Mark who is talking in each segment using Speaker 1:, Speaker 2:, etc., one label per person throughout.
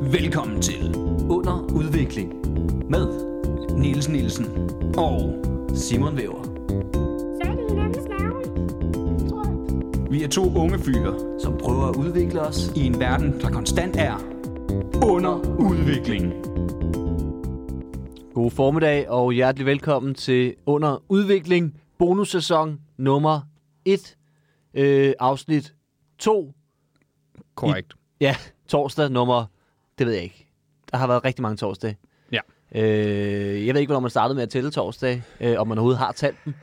Speaker 1: Velkommen til
Speaker 2: Under udvikling med
Speaker 1: Niels Nielsen og
Speaker 2: Simon Væver,
Speaker 3: Så er det hinandens navn. Tror jeg.
Speaker 1: vi er to unge fyre
Speaker 2: som prøver at udvikle os.
Speaker 1: i en verden, der konstant er under udvikling.
Speaker 4: God formiddag og hjertelig velkommen til Under Udvikling, bonussæson nummer 1, øh, afsnit 2.
Speaker 1: Korrekt.
Speaker 4: Ja, torsdag nummer, det ved jeg ikke. Der har været rigtig mange torsdage.
Speaker 1: Ja.
Speaker 4: Øh, jeg ved ikke, hvornår man startede med at tælle torsdag, øh, om man overhovedet har talt dem.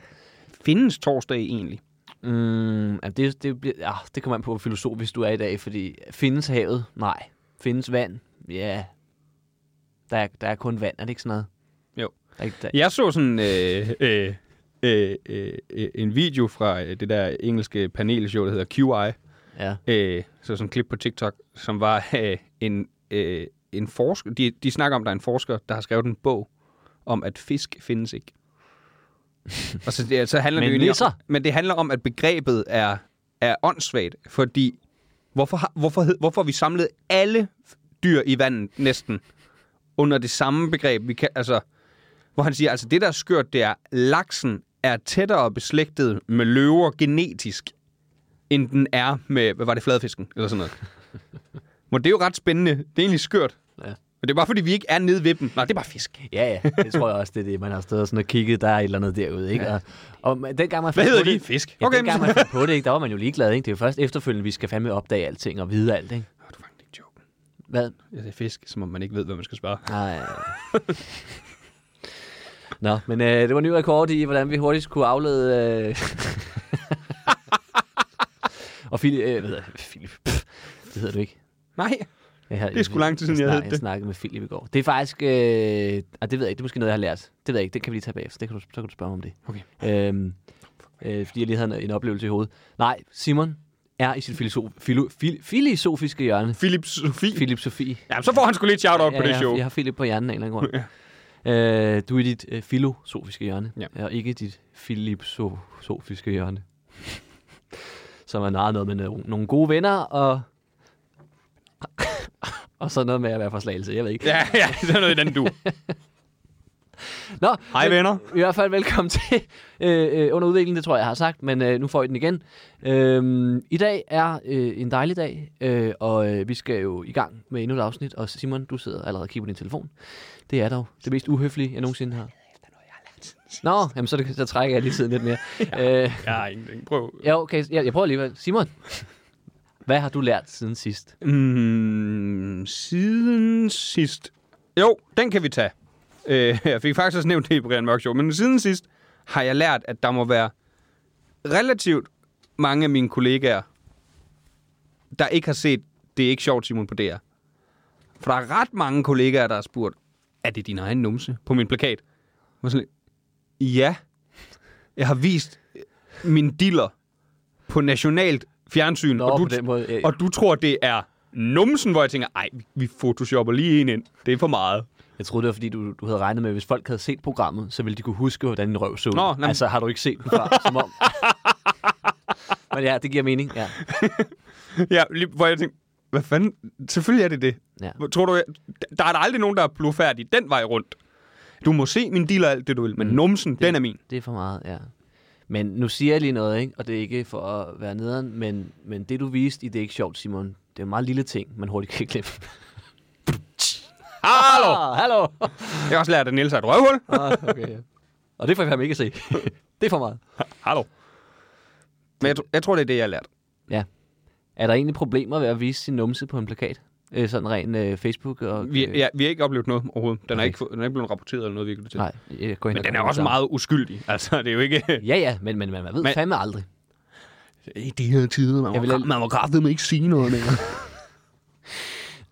Speaker 1: Findes torsdag egentlig?
Speaker 4: Mm, altså det, det, bliver, ah, det kommer an på, hvor filosofisk du er i dag, fordi findes havet? Nej. Findes vand? Ja. Der er, der er kun vand, er det ikke sådan noget?
Speaker 1: Jo.
Speaker 4: Der er ikke, der,
Speaker 1: Jeg så sådan øh, øh, øh, øh, øh, en video fra øh, det der engelske panelshow, der hedder QI.
Speaker 4: ja.
Speaker 1: øh, så sådan en klip på TikTok, som var øh, en, øh, en forsker. De, de snakker om, at der er en forsker, der har skrevet en bog om, at fisk findes ikke. Og så, det, så handler
Speaker 4: Men
Speaker 1: det jo egentlig om,
Speaker 4: nisser?
Speaker 1: men det handler om, at begrebet er, er åndssvagt, fordi hvorfor, har- hvorfor, hed- hvorfor har vi samlet alle dyr i vandet næsten under det samme begreb? Vi kan, altså, hvor han siger, altså det der er skørt, det er, laksen er tættere beslægtet med løver genetisk, end den er med, hvad var det, fladfisken, eller sådan noget. Men det er jo ret spændende. Det er egentlig skørt.
Speaker 4: Ja.
Speaker 1: Men det er bare, fordi vi ikke er nede ved dem. Nej, det er bare fisk.
Speaker 4: Ja, ja, det tror jeg også, det er det, man har stået og sådan og kigget, der er et eller andet derude, ikke? Ja. Og, og man- dengang man
Speaker 1: Hvad
Speaker 4: fandt
Speaker 1: hedder
Speaker 4: på
Speaker 1: de?
Speaker 4: det-
Speaker 1: Fisk? Okay,
Speaker 4: Ja, okay, dengang
Speaker 1: men-
Speaker 4: man fandt på det, ikke, der var man jo ligeglad, ikke? Det er jo først efterfølgende, vi skal fandme opdage alting og vide alt, ikke?
Speaker 1: Åh, du fangede ikke joke.
Speaker 4: Hvad?
Speaker 1: Jeg sagde fisk, som om man ikke ved, hvad man skal spørge.
Speaker 4: Nej. Nå, men øh, det var en ny rekord i, hvordan vi hurtigt skulle aflede... Øh... og Philip... Øh, hvad hedder Philip? Pff, det hedder du ikke.
Speaker 1: Nej.
Speaker 4: Jeg har,
Speaker 1: Det er sgu lang tid siden, jeg
Speaker 4: snak-
Speaker 1: hed det.
Speaker 4: Jeg snakkede med Philip i går. Det er faktisk... Øh, og det ved jeg ikke, det er måske noget, jeg har lært. Det ved jeg ikke, det kan vi lige tage bagefter. Det kan du, så kan du spørge mig om det.
Speaker 1: Okay.
Speaker 4: Øhm, øh, fordi jeg lige havde en, en oplevelse i hovedet. Nej, Simon er i sit filosof, filo, fil, filosofiske hjørne.
Speaker 1: Philip Sofie.
Speaker 4: Philip Sofie.
Speaker 1: Ja, så får han sgu lige et shout-out ja, på det
Speaker 4: jeg,
Speaker 1: show.
Speaker 4: har- jeg har Philip på hjernen af en eller anden grund. Øh, du er i dit øh, filosofiske hjørne,
Speaker 1: Ja.
Speaker 4: og ikke dit filosofiske hjørne. Som er meget noget med no- nogle gode venner, og, og så noget med at være fra Slagelse, jeg ved ikke.
Speaker 1: Ja, ja, det er noget i den du.
Speaker 4: Nå,
Speaker 1: Hej
Speaker 4: men-
Speaker 1: venner.
Speaker 4: I hvert fald velkommen til øh, øh, under udviklingen, det tror jeg, jeg har sagt, men øh, nu får I den igen. Øhm, I dag er øh, en dejlig dag, øh, og øh, vi skal jo i gang med endnu et afsnit, og Simon, du sidder allerede og kigger på din telefon. Det er dog det mest uhøflige, jeg nogensinde har. Nå, jamen, så, er det, så trækker jeg lige tiden lidt mere. ja. Øh,
Speaker 1: Ja, ingenting. Prøv.
Speaker 4: ja, okay, jeg, jeg prøver alligevel. Simon, hvad har du lært siden sidst?
Speaker 1: Mm, siden sidst. Jo, den kan vi tage. Øh, jeg fik faktisk også nævnt det i Brian Mørk Show, men siden sidst har jeg lært, at der må være relativt mange af mine kollegaer, der ikke har set Det er ikke sjovt, Simon, på DR. For der er ret mange kollegaer, der har spurgt, er det din egen numse på min plakat? Og sådan, lidt, ja, jeg har vist min diller på nationalt fjernsyn,
Speaker 4: Nå,
Speaker 1: og, du,
Speaker 4: på den måde, øh.
Speaker 1: og du tror, det er numsen, hvor jeg tænker, ej, vi- vi photoshopper lige en ind. Det er for meget.
Speaker 4: Jeg troede, det var, fordi du, du havde regnet med, at hvis folk havde set programmet, så ville de kunne huske, hvordan din røv så ud.
Speaker 1: Nå, jamen-
Speaker 4: Altså, har du ikke set den før? Som om... Men ja, det giver mening. Ja.
Speaker 1: Ja, lige, hvor jeg tænkte, hvad fanden? Selvfølgelig er det det.
Speaker 4: Ja.
Speaker 1: Hvor- Tror du, jeg, der er der aldrig nogen, der er blufærdig den vej rundt. Du må se min deal og alt Mm. det, du vil, men numsen, den er min.
Speaker 4: Det er for meget, ja. Men nu siger jeg lige noget, ikke? og det er ikke for at være nederen, men, men det du viste i Det er ikke sjovt, Simon, det er en meget lille ting, man hurtigt kan glemme.
Speaker 1: Hallo!
Speaker 4: Ah, hallo!
Speaker 1: Jeg har også lært, at Niels er et røvhul.
Speaker 4: ah, okay, ja. Og det får jeg fandme ikke at se. det er for meget.
Speaker 1: Hallo. Men jeg, tr- jeg tror, det er det, jeg har lært.
Speaker 4: Ja. Er der egentlig problemer ved at vise sin numse på en plakat? Øh, sådan ren øh, Facebook og...
Speaker 1: Vi,
Speaker 4: øh,
Speaker 1: ja, vi har ikke oplevet noget overhovedet. Den er,
Speaker 4: Nej.
Speaker 1: ikke, fået- den er ikke blevet rapporteret eller noget, vi kan til.
Speaker 4: Nej, jeg går ind
Speaker 1: Men
Speaker 4: og
Speaker 1: den er også
Speaker 4: gør det samme.
Speaker 1: meget uskyldig. Altså, det er jo ikke...
Speaker 4: Ja, ja, men, men man ved
Speaker 1: Men-
Speaker 4: men... fandme aldrig.
Speaker 1: I de her tider, man
Speaker 4: Jeg vil-
Speaker 1: man må kraftedeme ikke sige noget mere.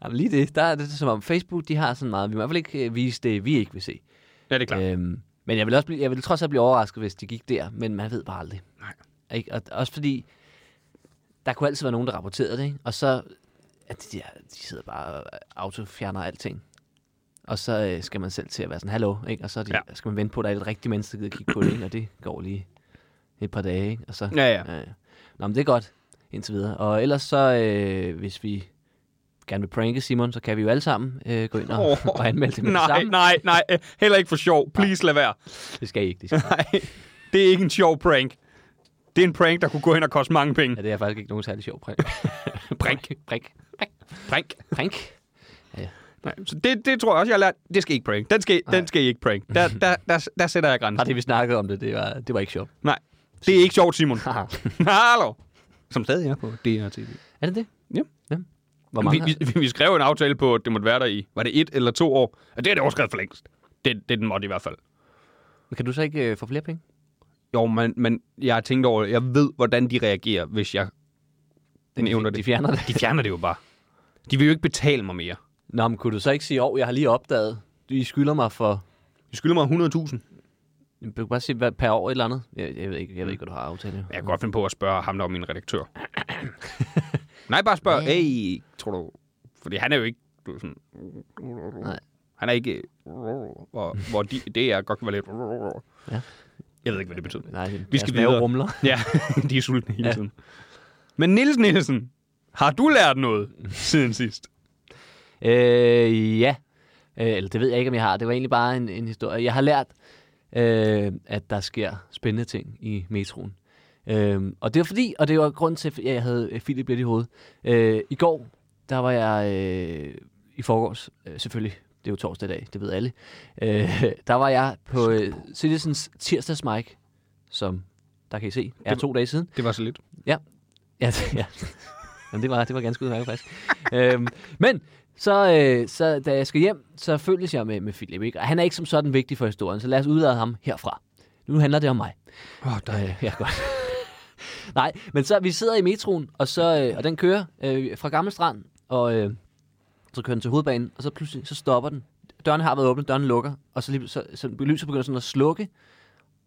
Speaker 4: Jamen, lige det, der er det som om Facebook, de har sådan meget, vi må i hvert fald ikke øh, vise det, vi ikke vil se.
Speaker 1: ja, det er klart.
Speaker 4: Øhm, men jeg vil, også blive, jeg vil trods alt blive overrasket, hvis de gik der, men man ved bare aldrig.
Speaker 1: Nej.
Speaker 4: Ikke? Og også fordi, der kunne altid være nogen, der rapporterede det, ikke? og så at de, der, de sidder bare og autofjerner alting. Og så øh, skal man selv til at være sådan, hallo, ikke? og så er de,
Speaker 1: Ja.
Speaker 4: ja. skal man vente på, at der er et rigtigt menneske, der gider kigge på det, ikke? og det går lige et par dage. Ikke? Og så,
Speaker 1: Ja, ja.
Speaker 4: Nå, men det er godt indtil videre. Og ellers så, øh, hvis øh, vi gerne vil pranke Simon, så kan vi jo alle sammen øh, gå ind og,
Speaker 1: Åh,
Speaker 4: oh, og anmelde det med det
Speaker 1: nej,
Speaker 4: samme.
Speaker 1: nej, nej. øh, Heller ikke for sjov. Please lad være.
Speaker 4: Det skal I ikke. Det, skal. I ikke.
Speaker 1: Nej, det er ikke en sjov prank. Det er en prank, der kunne gå hen og koste mange penge.
Speaker 4: Ja, det er faktisk ikke nogen særlig sjov prank. prank. Prank. Prank.
Speaker 1: Prank.
Speaker 4: Prank.
Speaker 1: Nej, så det, det tror jeg også, jeg har lært. Det skal I ikke prank. Den skal, den skal I ikke prank. Der, der, der, der sætter jeg
Speaker 4: Bare
Speaker 1: grænsen.
Speaker 4: det, vi snakkede om det, det var, det var ikke sjovt.
Speaker 1: Nej, det er ikke sjovt, Simon.
Speaker 4: Haha.
Speaker 1: Hallo. Som stadig er på DRTV.
Speaker 4: er det det?
Speaker 1: Ja.
Speaker 4: Hvor
Speaker 1: Vi,
Speaker 4: mange har-
Speaker 1: vi, vi skrev en aftale på, at det måtte være der i, var det et eller to år? Og det er det overskrevet for længst. Det, det den måtte i hvert fald.
Speaker 4: Men Kan du så ikke øh, få flere penge?
Speaker 1: Jo, men, men jeg har tænkt over det. Jeg ved, hvordan de reagerer, hvis jeg nævner
Speaker 4: de,
Speaker 1: det.
Speaker 4: de fjerner det.
Speaker 1: De fjerner det jo bare. De vil jo ikke betale mig mere.
Speaker 4: Nå, men kunne du så ikke sige, åh, jeg har lige opdaget, I skylder mig for,
Speaker 1: De skylder mig 100.000.
Speaker 4: du kan bare sige hvad, per år et eller andet. Jeg, jeg, ved, ikke, jeg ved ikke, hvad du har aftalt. jo.
Speaker 1: Jeg kan godt finde på at spørge ham der om min redaktør. Nej, bare spørg. Hey, tror du... Fordi han er jo ikke... Du ved, sådan,
Speaker 4: Nej.
Speaker 1: han er ikke... Hvor, hvor de, det er godt kan være lidt...
Speaker 4: Ja.
Speaker 1: Jeg ved ikke, hvad det betyder.
Speaker 4: Nej, det-
Speaker 1: Vi
Speaker 4: deres
Speaker 1: skal
Speaker 4: mave
Speaker 1: videre.
Speaker 4: rumler.
Speaker 1: Ja, de er sultne hele
Speaker 4: Ja.
Speaker 1: ja. tiden. Men Nils Nielsen, har du lært noget siden sidst?
Speaker 4: Øh, ja. Øh, eller det ved jeg ikke, om jeg har. Det var egentlig bare en, en historie. Jeg har lært, øh, at der sker spændende ting i metroen. Øh, og det var fordi, og det var grund til, at jeg havde øh, Philip lidt i hovedet. Øh, I går, der var jeg øh, i forgårs, øh, selvfølgelig. Det er jo torsdag i dag, det ved alle. Øh, der var jeg på øh, Citizens tirsdags mic, som der kan I se, er
Speaker 1: Det-
Speaker 4: to dage siden.
Speaker 1: Det var så lidt.
Speaker 4: Ja, det- ja. Jamen, det, var, det var ganske udmærket faktisk. øhm, men så, øh, så da jeg skal hjem, så følges jeg med, med Philip. Ikke? Og han er ikke som sådan vigtig for historien, så lad os udlade ham herfra. Nu handler det om mig.
Speaker 1: Åh, oh,
Speaker 4: Øh, ja, godt. Nej, men så vi sidder i metroen, og, så, øh, og den kører øh, fra Gammel Strand, og øh, så kører den til hovedbanen, og så pludselig så stopper den. Dørene har været åbne, dørene lukker, og så, lige, så, så lyset begynder sådan at slukke,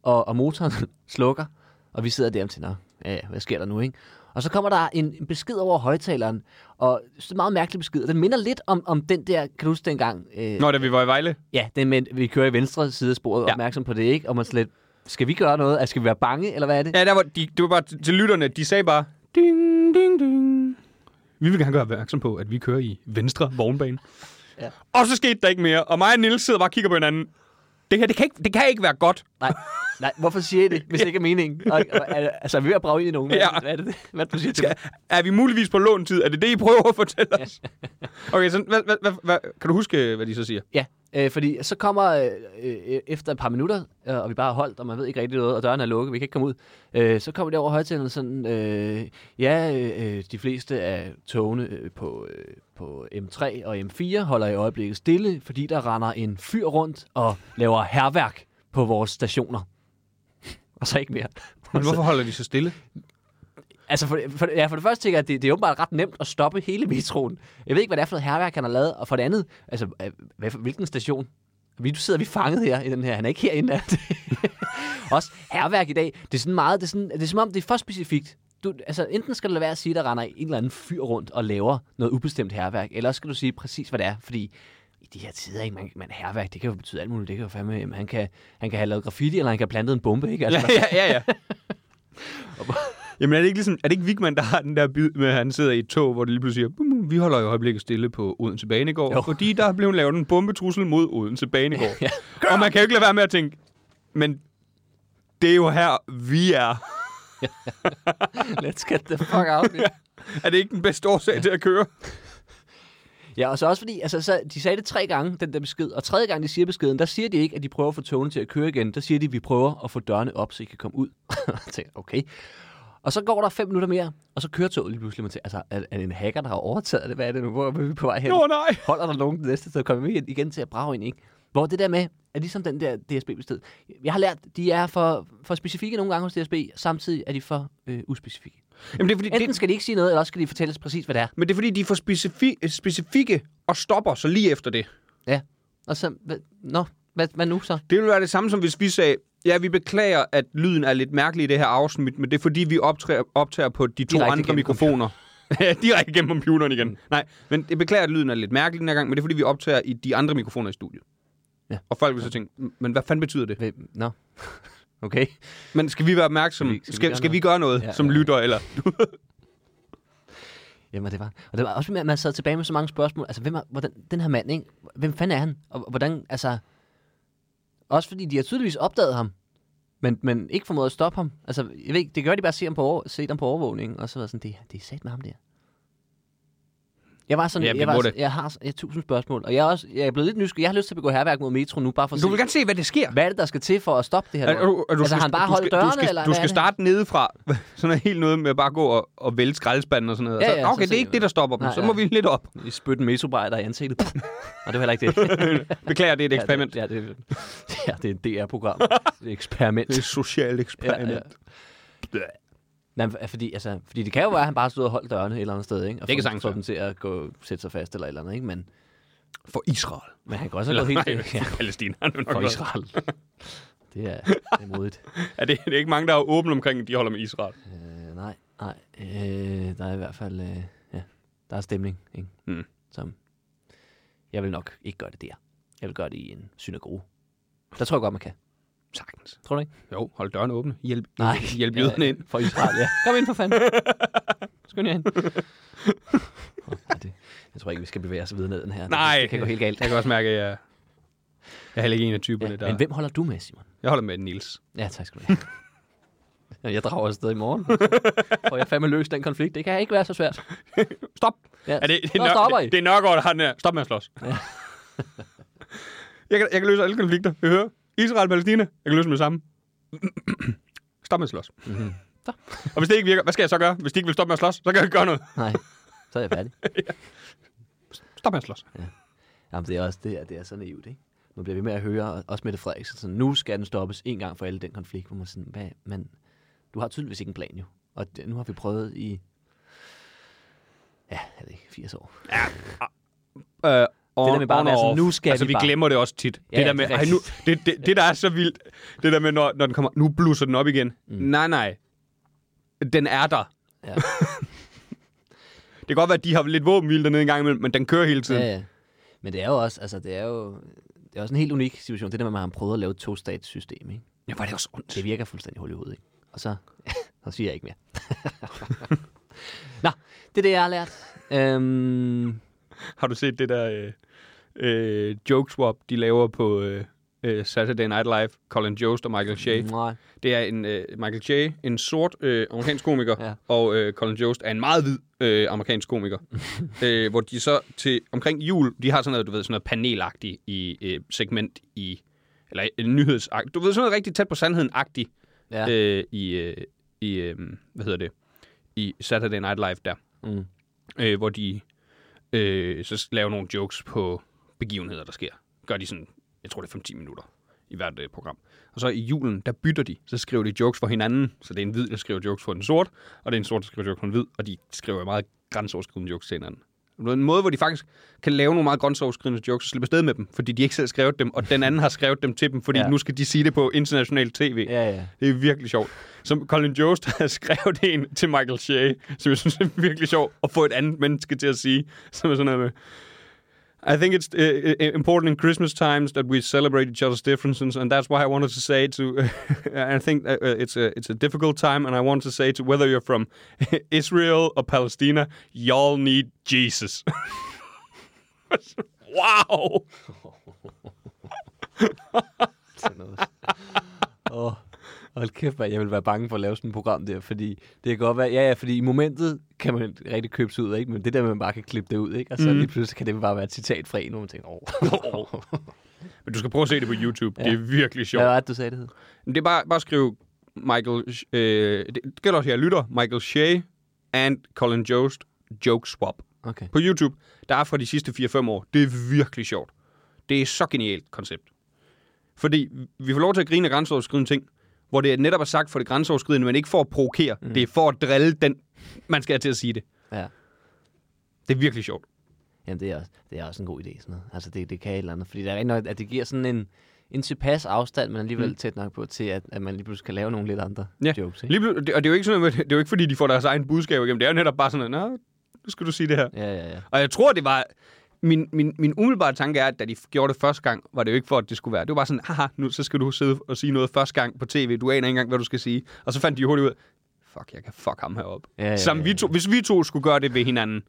Speaker 4: og, og motoren slukker, og vi sidder der og tænker, "Nå, ja, ja, hvad sker der nu, ikke? Og så kommer der en, en besked over højtaleren, og så en meget mærkelig besked, og den minder lidt om, om den der, kan du huske dengang? Øh,
Speaker 1: Nå, da vi var i Vejle.
Speaker 4: Ja, det med, vi kører i venstre side af sporet, ja.
Speaker 1: Ja.
Speaker 4: opmærksom på det, ikke? Og man slet, skal vi gøre noget? Altså, skal vi være bange, eller hvad er det?
Speaker 1: Ja, der var, de, det var bare til lytterne. De sagde bare, ding, ding, ding. Vi vil gerne gøre opmærksom på, at vi kører i venstre vognbane.
Speaker 4: Ja.
Speaker 1: Ja. Og så skete der ikke mere. Og mig og Nils sidder bare og kigger på hinanden. Det her, det kan ikke, det kan ikke være godt.
Speaker 4: Nej, nej, hvorfor siger I det, hvis det ikke er meningen? Og, og, er- altså, er vi ved at brage ind i nogen? Hvad, ja.
Speaker 1: Ja.
Speaker 4: hvad er det, hvad er det, du siger til
Speaker 1: Skal, er vi muligvis på låntid? Er det det, I prøver at fortælle os? Okay, så hvad, hvad, hvad, hvad, kan du huske, hvad de så siger?
Speaker 4: Ja, øh, fordi så kommer øh, øh, efter et par minutter, øh, og vi bare har holdt, og man ved ikke rigtig noget, og døren er lukket, vi kan ikke komme ud, øh, så kommer det over højtalen sådan, øh, ja, øh, øh, de fleste af togene øh, på, øh, på M3 og M4 holder i øjeblikket stille, fordi der render en fyr rundt og laver herværk på vores stationer. Og så ikke mere.
Speaker 1: Men hvorfor holder de så stille?
Speaker 4: Altså, for, for, ja, for det første tænker jeg, at det, det er åbenbart ret nemt at stoppe hele metroen. Jeg ved ikke, hvad det er for noget herværk, han har lavet. Og for det andet, altså, øh, hvad, for- hvilken station? Vi, nu sidder vi fanget her i den her. Han er ikke herinde. altså. Også herværk i dag, det er sådan meget, det er, sådan, det er som om, det er for specifikt. Du, altså, enten skal du lade være at sige, der render en eller anden fyr rundt og laver noget ubestemt herværk, eller også skal du sige præcis, hvad det er, fordi i de her tider, ikke, man, man herværk, det kan jo betyde alt muligt. Det kan jo fandme, jamen, han kan, han kan have lavet graffiti, eller han kan have plantet en bombe, ikke? Altså,
Speaker 1: Ja, ja, ja. ja. Jamen er det ikke ligesom, er det ikke Vigman, der har den der bid med, at han sidder i et tog, hvor det lige pludselig siger, "Bum, bum, vi holder i øjeblikket stille på Odense Banegård,
Speaker 4: Jo.
Speaker 1: fordi der blev lavet en bombetrussel mod Odense Banegård. ja. Og man kan jo ikke lade være med at tænke, men det er jo her, vi er.
Speaker 4: Let's get the fuck out. man.
Speaker 1: Er det ikke den bedste årsag til at køre?
Speaker 4: Ja, og så også fordi, altså, så, de sagde det tre gange, den der besked, og tredje gang, de siger beskeden, der siger de ikke, at de prøver at få togene til at køre igen. Der siger de, at vi prøver at få dørene op, så I kan komme ud. Jeg tænker, okay. Og så går der fem minutter mere, og så kører toget lige pludselig. Man tænker, altså, er, er det en hacker, der har overtaget det? Hvad er det nu? Hvor er vi på vej hen?
Speaker 1: Nå nej.
Speaker 4: Holder der nogen den næste, så kommer vi igen- igen til at brage ind, ikke? Hvor det der med, er ligesom den der DSB-besked. Jeg har lært, de er for, for specifikke nogle gange hos DSB, samtidig er de for øh, uspecifikke.
Speaker 1: Jamen, det er fordi,
Speaker 4: Enten
Speaker 1: det,
Speaker 4: skal de ikke sige noget, eller også skal de fortælle os præcis, hvad det er.
Speaker 1: men det er fordi, de er for specifi- specifikke og stopper så lige efter det.
Speaker 4: Ja. Og så, hvad, nå, hvad, hvad nu så?
Speaker 1: Det ville være det samme som hvis vi sagde, ja, vi beklager, at lyden er lidt mærkelig i det her afsnit, men det er fordi, vi optager, optager på de to
Speaker 4: Direkte
Speaker 1: Direkte andre
Speaker 4: gennem
Speaker 1: mikrofoner. Ja, Direkte gennem computeren igen. Mm. Nej, men det beklager, at lyden er lidt mærkelig den her gang, men det er fordi, vi optager i de andre mikrofoner i studiet.
Speaker 4: Ja.
Speaker 1: Ja. Og folk vil så tænke, men hvad fanden betyder det?
Speaker 4: Hvem? Nå. Okay.
Speaker 1: Men skal vi være opmærksomme?
Speaker 4: Skal vi-
Speaker 1: Skal,
Speaker 4: skal vi
Speaker 1: skal,
Speaker 4: gøre
Speaker 1: vi gøre noget
Speaker 4: Ja,
Speaker 1: ja, som
Speaker 4: ja.
Speaker 1: lytter? Eller?
Speaker 4: Jamen, det var. Og det var også, at man sad tilbage med så mange spørgsmål. Altså, hvem er, hvordan, den her mand, ikke? Hvem fanden er han? Og hvordan, altså... Også fordi de har tydeligvis opdaget ham, men, men ikke formået at stoppe ham. Altså, jeg ved ikke, det gør de bare at se ham på, over, se ham på overvågning, og så var jeg sådan, det, det er sat med ham der. Jeg var sådan,
Speaker 1: Ja, vi
Speaker 4: jeg, var,
Speaker 1: må
Speaker 4: sådan-
Speaker 1: det.
Speaker 4: jeg har jeg har tusind spørgsmål, og jeg er, også, jeg er blevet lidt nysgerrig. Jeg har lyst til at begå herværk mod Metro nu, bare for at
Speaker 1: Du
Speaker 4: se,
Speaker 1: vil gerne se, hvad der sker.
Speaker 4: hvad er det, der skal til for at stoppe det her?
Speaker 1: Er,
Speaker 4: lort?
Speaker 1: er, du- er, du
Speaker 4: altså, har han bare
Speaker 1: du
Speaker 4: holdt
Speaker 1: skal,
Speaker 4: dørene,
Speaker 1: du skal,
Speaker 4: eller
Speaker 1: Du
Speaker 4: hvad
Speaker 1: skal
Speaker 4: er det?
Speaker 1: starte nedefra. Sådan noget helt noget med at bare gå og, og vælte skraldespanden og sådan noget.
Speaker 4: Ja,
Speaker 1: Ja,
Speaker 4: ja,
Speaker 1: ja,
Speaker 4: så
Speaker 1: okay, det
Speaker 4: ser
Speaker 1: er ikke
Speaker 4: vi.
Speaker 1: det, der stopper dem.
Speaker 4: Nej,
Speaker 1: så
Speaker 4: ja.
Speaker 1: må vi lidt op.
Speaker 4: I spytte en mesobrejer i ansigtet. Og det var heller ikke det.
Speaker 1: Beklager, det er et eksperiment.
Speaker 4: Ja, det, ja, det, ja, det er et DR-program. Et eksperiment.
Speaker 1: Det er et socialt eksperiment.
Speaker 4: Nej, men fordi, altså, fordi det kan jo være, at han bare stod og holdt dørene et eller andet sted, ikke? Og
Speaker 1: Det kan
Speaker 4: få-
Speaker 1: sagtens
Speaker 4: få
Speaker 1: være.
Speaker 4: dem til at gå, sætte sig fast eller et eller andet, ikke? Men,
Speaker 1: For Israel.
Speaker 4: men han kan også have
Speaker 1: Eller
Speaker 4: gået
Speaker 1: nej,
Speaker 4: helt til ja,
Speaker 1: for Palæstina. er det nok
Speaker 4: for
Speaker 1: også.
Speaker 4: Israel. Det er, det er modigt.
Speaker 1: Ja, det, det er ikke mange, der er åbne omkring, at de holder med Israel.
Speaker 4: Øh, nej, nej. Øh, der er i hvert fald, øh, ja, der er stemning, ikke?
Speaker 1: Mm.
Speaker 4: Som, jeg vil nok ikke gøre det der. Jeg vil gøre det i en synagoge. Der tror jeg godt, man kan.
Speaker 1: Sagtens.
Speaker 4: Tror du ikke?
Speaker 1: Jo, hold dørene åbne. Hjælp,
Speaker 4: Nej.
Speaker 1: hjælp jøderne ind.
Speaker 4: For Israel, ja. Kom ind for fanden. Skynd jer ind. Åh, nej, det, jeg tror ikke, vi skal bevæge os videre ned den her.
Speaker 1: Nej.
Speaker 4: Det kan gå helt galt.
Speaker 1: Jeg kan også mærke, at jeg, jeg er heller ikke en af typerne,
Speaker 4: Ja,
Speaker 1: der...
Speaker 4: men hvem holder du med, Simon?
Speaker 1: Jeg holder med Nils.
Speaker 4: Ja, tak skal du have. Ja, jeg drager afsted i morgen. Og jeg fandme løs den konflikt. Det kan ikke være så svært.
Speaker 1: Stop!
Speaker 4: Ja.
Speaker 1: Er det, det,
Speaker 4: så stopper I.
Speaker 1: det, det er Nørgaard, der har den her. Stop med at slås.
Speaker 4: Ja.
Speaker 1: jeg, kan, jeg kan løse alle konflikter. Vi hører Israel og Palæstina. Jeg kan løse dem det samme. stop med at slås.
Speaker 4: Mhm. Så.
Speaker 1: og hvis det ikke virker, hvad skal jeg så gøre? Hvis de ikke vil stoppe med at slås, så kan jeg ikke gøre noget.
Speaker 4: Nej, så er jeg færdig.
Speaker 1: Stop med at slås.
Speaker 4: Jamen, det er også det her, det er så naivt, ikke? Nu bliver vi med at høre, og- også Mette Frederiksen, sådan, nu skal den stoppes en gang for alle den konflikt, hvor man sådan, hvad, men du har tydeligvis ikke en plan jo. Og det, nu har vi prøvet i, ja, jeg ved ikke, 80 år.
Speaker 1: Øh, on,
Speaker 4: der med bare at
Speaker 1: on
Speaker 4: være sådan,
Speaker 1: off.
Speaker 4: "Nu skal
Speaker 1: altså,
Speaker 4: vi
Speaker 1: vi
Speaker 4: bare."
Speaker 1: glemmer det også tit.
Speaker 4: Ja,
Speaker 1: det, der
Speaker 4: det
Speaker 1: med,
Speaker 4: er
Speaker 1: ej, nu, det, det, det, der er så vildt, det der med, når, når den kommer, nu blusser den op igen. Mm. Nej, nej. Den er der.
Speaker 4: Ja.
Speaker 1: Det kan godt være, at de har lidt våbenhvild dernede en gang imellem, men den kører hele tiden.
Speaker 4: Ja, ja. Men det er jo også, altså det er jo, det er også en helt unik situation, det der med, at man har prøvet at lave et to-stat-system, ikke?
Speaker 1: Ja, var det også ondt.
Speaker 4: Det virker fuldstændig hul i hovedet, ikke? Og så, så siger jeg ikke mere. Nå, det er det, jeg har lært. Øhm,
Speaker 1: Har du set det der øh, øh, joke swap, de laver på øh, øh, Saturday Night Live, Colin Jost og Michael Shea? Mm.
Speaker 4: nej.
Speaker 1: Det er en øh, Michael Shea, en sort øh, amerikansk komiker,
Speaker 4: Ja.
Speaker 1: ja. og øh, Colin Jost er en meget hvid øh, amerikansk komiker. øh, hvor de så til omkring jul, de har sådan noget, du ved, sådan noget panelagtigt i øh, segment i eller øh, nyhedsagtigt. Du ved sådan noget rigtig tæt på sandheden-agtigt
Speaker 4: Ja.
Speaker 1: ja. øh, i, øh, i øh, hvad hedder det, i Saturday Night Live der.
Speaker 4: Mm.
Speaker 1: Øh, hvor de øh, så laver nogle jokes på begivenheder, der sker. Gør de sådan, jeg tror det er 5-10 minutter i hvert øh, program. Og så i julen, der bytter de, så skriver de jokes for hinanden. Så det er en hvid, der skriver jokes for en sort, og det er en sort, der skriver jokes for en hvid, og de skriver meget grænseoverskridende jokes til hinanden. Det er en måde, hvor de faktisk kan lave nogle meget grænseoverskridende jokes og slippe afsted med dem, fordi de ikke selv skrevet dem, og den anden har skrevet dem til dem, fordi
Speaker 4: Ja.
Speaker 1: ja. nu skal de sige det på international tv.
Speaker 4: Ja, ja.
Speaker 1: Det er virkelig sjovt. Som Colin Jost har skrevet en til Michael Shea, som jeg synes er virkelig sjov at få et andet menneske til at sige, som er sådan noget med... I think it's uh, uh, important in Christmas times that we celebrate each other's differences, and that's why I wanted to say to, I think uh, uh, it's a it's a difficult time, and I want to say to whether you're from Israel or Palestina, y'all need Jesus. wow!
Speaker 4: Sådan noget. Åh, hold kæft, mand. jeg vil være bange for at lave sådan et program der, fordi det kan godt være, ja, ja, fordi i momentet kan man rigtig købe sig ud af, ikke? men det der med, at man bare kan klippe det ud, ikke? og så mm. lige pludselig kan det bare være et citat fra en, hvor man tænker, åh, oh.
Speaker 1: Men du skal prøve at se det på YouTube. Ja. Det er virkelig sjovt.
Speaker 4: hvad var det, du sagde, det hed?
Speaker 1: Men Det er bare, bare at skrive Michael... Sh- Øh, det det gælder også, jeg lytter. Michael Shea and Colin Jost joke swap.
Speaker 4: Okay.
Speaker 1: På YouTube, der er fra de sidste 4-5 år. Det er virkelig sjovt. Det er så genialt koncept. Fordi vi får lov til at grine af grænseoverskridende ting, hvor det netop er sagt for det grænseoverskridende, men ikke for at provokere. Mm. Det er for at drille den, man skal have til at sige det.
Speaker 4: Ja.
Speaker 1: Det er virkelig sjovt.
Speaker 4: Jamen, det er, også, det er også en god idé, sådan noget. Altså, det, det kan et eller andet. Fordi der er rigtig nok, at det giver sådan en, en tilpas afstand, men alligevel mm. tæt nok på til, at, at man lige pludselig kan lave nogle lidt andre
Speaker 1: Ja.
Speaker 4: jokes, ikke?
Speaker 1: Lige, plu- det- og det er jo ikke sådan, noget med- det er jo ikke fordi, de får deres egen budskab igennem. Det er jo netop bare sådan, noget, Nå, nu skal du sige det her.
Speaker 4: Ja, ja, ja.
Speaker 1: Og jeg tror, det var... Min, min, min umiddelbare tanke er, at da de gjorde det første gang, var det jo ikke for, at det skulle være. Det var bare sådan, haha, nu så skal du sidde og sige noget første gang på tv. Du aner ikke engang, hvad du skal sige. Og så fandt de hurtigt ud, fuck, jeg kan fuck ham herop.
Speaker 4: Ja, ja,
Speaker 1: Som
Speaker 4: ja,
Speaker 1: vi to, hvis vi to skulle gøre det ved hinanden,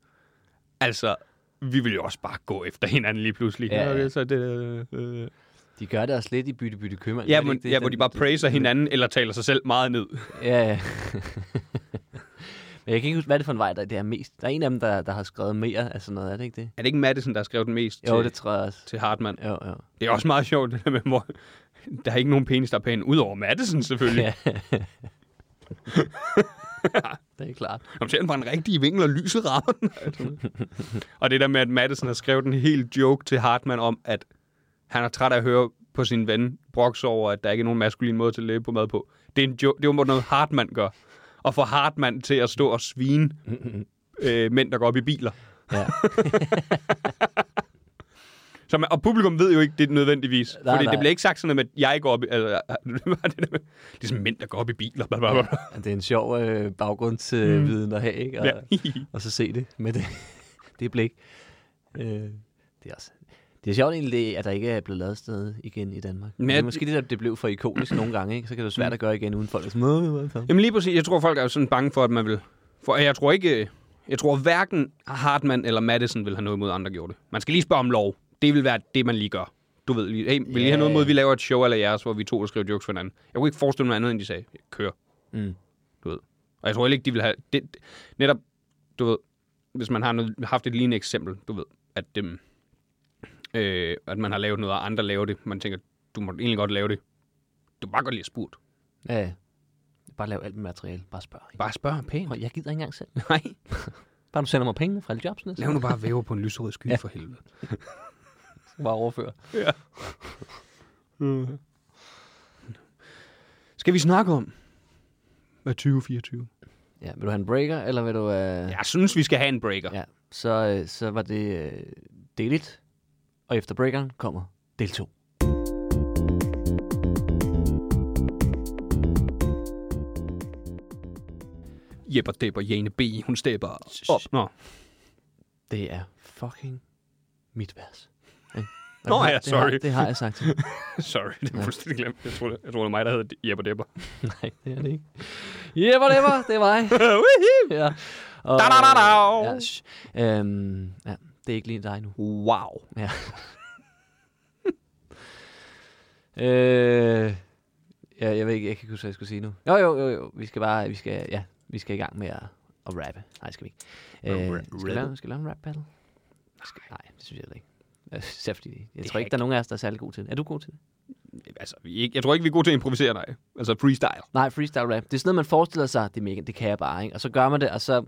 Speaker 1: altså, vi ville jo også bare gå efter hinanden lige pludselig.
Speaker 4: Ja, ja.
Speaker 1: Okay, så det, øh, øh.
Speaker 4: De gør det også lidt i bytte bytte købmand.
Speaker 1: ja,
Speaker 4: Gør de
Speaker 1: men,
Speaker 4: ikke det?
Speaker 1: ja, hvor de bare praiser hinanden, eller taler sig selv meget ned.
Speaker 4: Ja, ja. men jeg kan ikke huske, hvad er det for en vej, der det er mest. Der er en af dem, der, der har skrevet mere af sådan noget, er det ikke det?
Speaker 1: Er det ikke Madison, der har skrevet den mest
Speaker 4: Jo,
Speaker 1: til,
Speaker 4: det tror jeg også.
Speaker 1: til Hartmann?
Speaker 4: Jo, jo.
Speaker 1: Det er også meget sjovt, det der med, hvor der er ikke nogen penis, der er pæn, udover Madison selvfølgelig.
Speaker 4: Ja. det er klart.
Speaker 1: Kom til, den var en rigtig vinkel, og lyset rammer den. og det der med, at Madison har skrevet en hel joke til Hartmann om, at han er træt af at høre på sin ven broks over, at der ikke er nogen maskulin måde til at leve på mad på. Det er, en jo- det er jo noget, Hartmann gør. Og får Hartmann til at stå og svine øh, mænd, der går op i biler.
Speaker 4: Ja.
Speaker 1: Så man, og publikum ved jo ikke det nødvendigvis.
Speaker 4: Nej,
Speaker 1: Nej, fordi
Speaker 4: nej.
Speaker 1: nej. det bliver ikke sagt sådan noget med, at jeg går op i... Altså, det var det der med, ligesom mænd, der går op i biler. Bla, bla, bla.
Speaker 4: Det er en sjov øh, baggrundsviden øh, at have, ikke? Og,
Speaker 1: Ja.
Speaker 4: og så se det med det, det blik. Øh, det er også... Det er sjovt egentlig, det, at der ikke er blevet lavet sted igen i Danmark. Men Mm.
Speaker 1: Men
Speaker 4: det er
Speaker 1: jeg-
Speaker 4: måske det, der det blev for ikonisk nogle gange, ikke? Så kan det være svært at gøre igen uden folk. er Sådan, "Nå, det var sådan."
Speaker 1: Jamen lige præcis. Jeg tror, folk er jo sådan bange for, at man vil... For jeg tror ikke... Jeg tror hverken Hartmann eller Madison vil have noget imod, at andre gjorde det. Man skal lige spørge om lov. Det vil være det, man lige gør. Du ved, lige, hey, vil yeah. I
Speaker 4: Ja.
Speaker 1: have noget imod, at vi laver et show eller jeres, hvor vi to der skriver jokes for hinanden? Jeg kunne ikke forestille mig andet, end de sagde, kør.
Speaker 4: Mm.
Speaker 1: Du ved. Og jeg tror heller ikke, de vil have... Det, det, netop, du ved, hvis man har noget, haft et lignende eksempel, du ved, at, dem, øh, at man har lavet noget, og andre laver det. Man tænker, du må egentlig godt lave det. Du må bare godt lige have spurgt.
Speaker 4: Ja, ja. Bare lav alt med materiale. Bare spørg. ikke?
Speaker 1: Bare spørg pænt.
Speaker 4: Prøv, Jeg gider ikke engang selv.
Speaker 1: Nej.
Speaker 4: Bare du sender mig pengene fra alle jobsene, så
Speaker 1: Lav nu bare væver på en lyserød sky ja. for helvede.
Speaker 4: skal jeg bare overføre.
Speaker 1: Skal vi snakke om? Hvad 2024?
Speaker 4: Ja, vil du have en breaker, eller vil du... Øh...
Speaker 1: Jeg synes, vi skal have en breaker. Ja.
Speaker 4: ja. Så, øh, så var det øh, del 1, og efter breakeren kommer del 2.
Speaker 1: Jeppe Depper, Jane B, hun stepper op. Nå,
Speaker 4: Det er fucking mit vers. Ikke?
Speaker 1: Nå
Speaker 4: Og det har-
Speaker 1: ja,
Speaker 4: det har-
Speaker 1: sorry.
Speaker 4: Det har jeg sagt til dig.
Speaker 1: sorry, det er fuldstændig glemt. Jeg tror, det, jeg tror, det var mig, der hed Jeppe Depper.
Speaker 4: Nej, det er det ikke. Yeah, whatever, det er mig. ja. Og,
Speaker 1: Da, da, da, da.
Speaker 4: Ja, shh. øhm, ja, det er ikke lige dig nu.
Speaker 1: wow.
Speaker 4: Ja. øh, ja, jeg ved ikke, jeg kan ikke huske, hvad jeg skulle sige nu. Jo, jo, jo, jo. Vi skal bare, vi skal, ja, vi skal i gang med at, at rappe. Nej, skal vi ikke.
Speaker 1: At
Speaker 4: Øh,
Speaker 1: ra-
Speaker 4: skal, vi lave,
Speaker 1: rappe?
Speaker 4: skal vi lave en rap battle? Skal, nej, det synes jeg heller ikke. Øh, Især fordi, jeg
Speaker 1: Det
Speaker 4: tror
Speaker 1: er
Speaker 4: ikke, der er nogen af os, der er særlig god til det. Er du god til det?
Speaker 1: Altså, vi er ikke, jeg tror ikke, vi er gode til at improvisere, nej. Altså freestyle.
Speaker 4: Nej, freestyle rap. Det er sådan noget, man forestiller sig, det, er mega, det kan jeg bare, ikke? Og så gør man det, og så...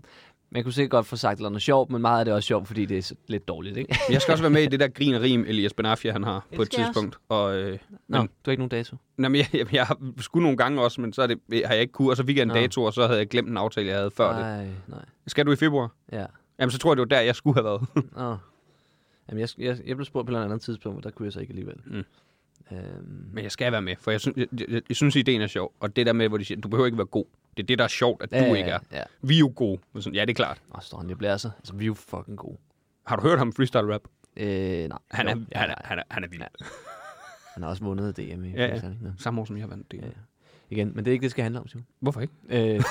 Speaker 4: Man kunne sikkert godt få sagt noget sjovt, men meget af det er også sjovt, fordi det er så- lidt dårligt, ikke?
Speaker 1: Men jeg skal også være med i det der grin og rim, Elias Benafia, han har på et
Speaker 4: skal jeg også.
Speaker 1: tidspunkt. Og, øh,
Speaker 4: Nå,
Speaker 1: Men-
Speaker 4: du har ikke nogen dato.
Speaker 1: nej, men jeg, jeg, jeg, har skulle nogle gange også, men så er det, øh, har jeg ikke kunne. Og så fik jeg en
Speaker 4: Nå.
Speaker 1: dato, og så havde jeg glemt en aftale, jeg havde før det.
Speaker 4: Nej, nej.
Speaker 1: Skal du i februar?
Speaker 4: Ja.
Speaker 1: Jamen, så tror jeg, det var der, jeg skulle have været.
Speaker 4: Nå. Jamen, jeg, jeg, jeg blev spurgt på et eller andet tidspunkt, og der kunne jeg så ikke alligevel.
Speaker 1: Mm.
Speaker 4: Øhm,
Speaker 1: Men jeg skal være med, for jeg, synes, jeg, jeg, jeg synes, ideen er sjov. Og det der med, hvor de siger, du behøver ikke være god. Det er det, der er sjovt, at du
Speaker 4: ja,
Speaker 1: ikke er.
Speaker 4: Ja, ja.
Speaker 1: Vi er jo gode. Men sådan, ja, det er klart.
Speaker 4: Og så står han lige og blæser. Altså, vi er jo fucking gode.
Speaker 1: Har du hørt ham freestyle rap?
Speaker 4: Øh, nej.
Speaker 1: Han er,
Speaker 4: Jo, ja,
Speaker 1: han er,
Speaker 4: nej.
Speaker 1: han er, han er vild.
Speaker 4: Ja. han har også vundet DM i
Speaker 1: ja.
Speaker 4: freestyle, ikke? Nå.
Speaker 1: Samme år, som jeg vandt det.
Speaker 4: Ja. Igen, men det er ikke det, det skal handle om, Simon.
Speaker 1: Hvorfor ikke?
Speaker 4: Øh,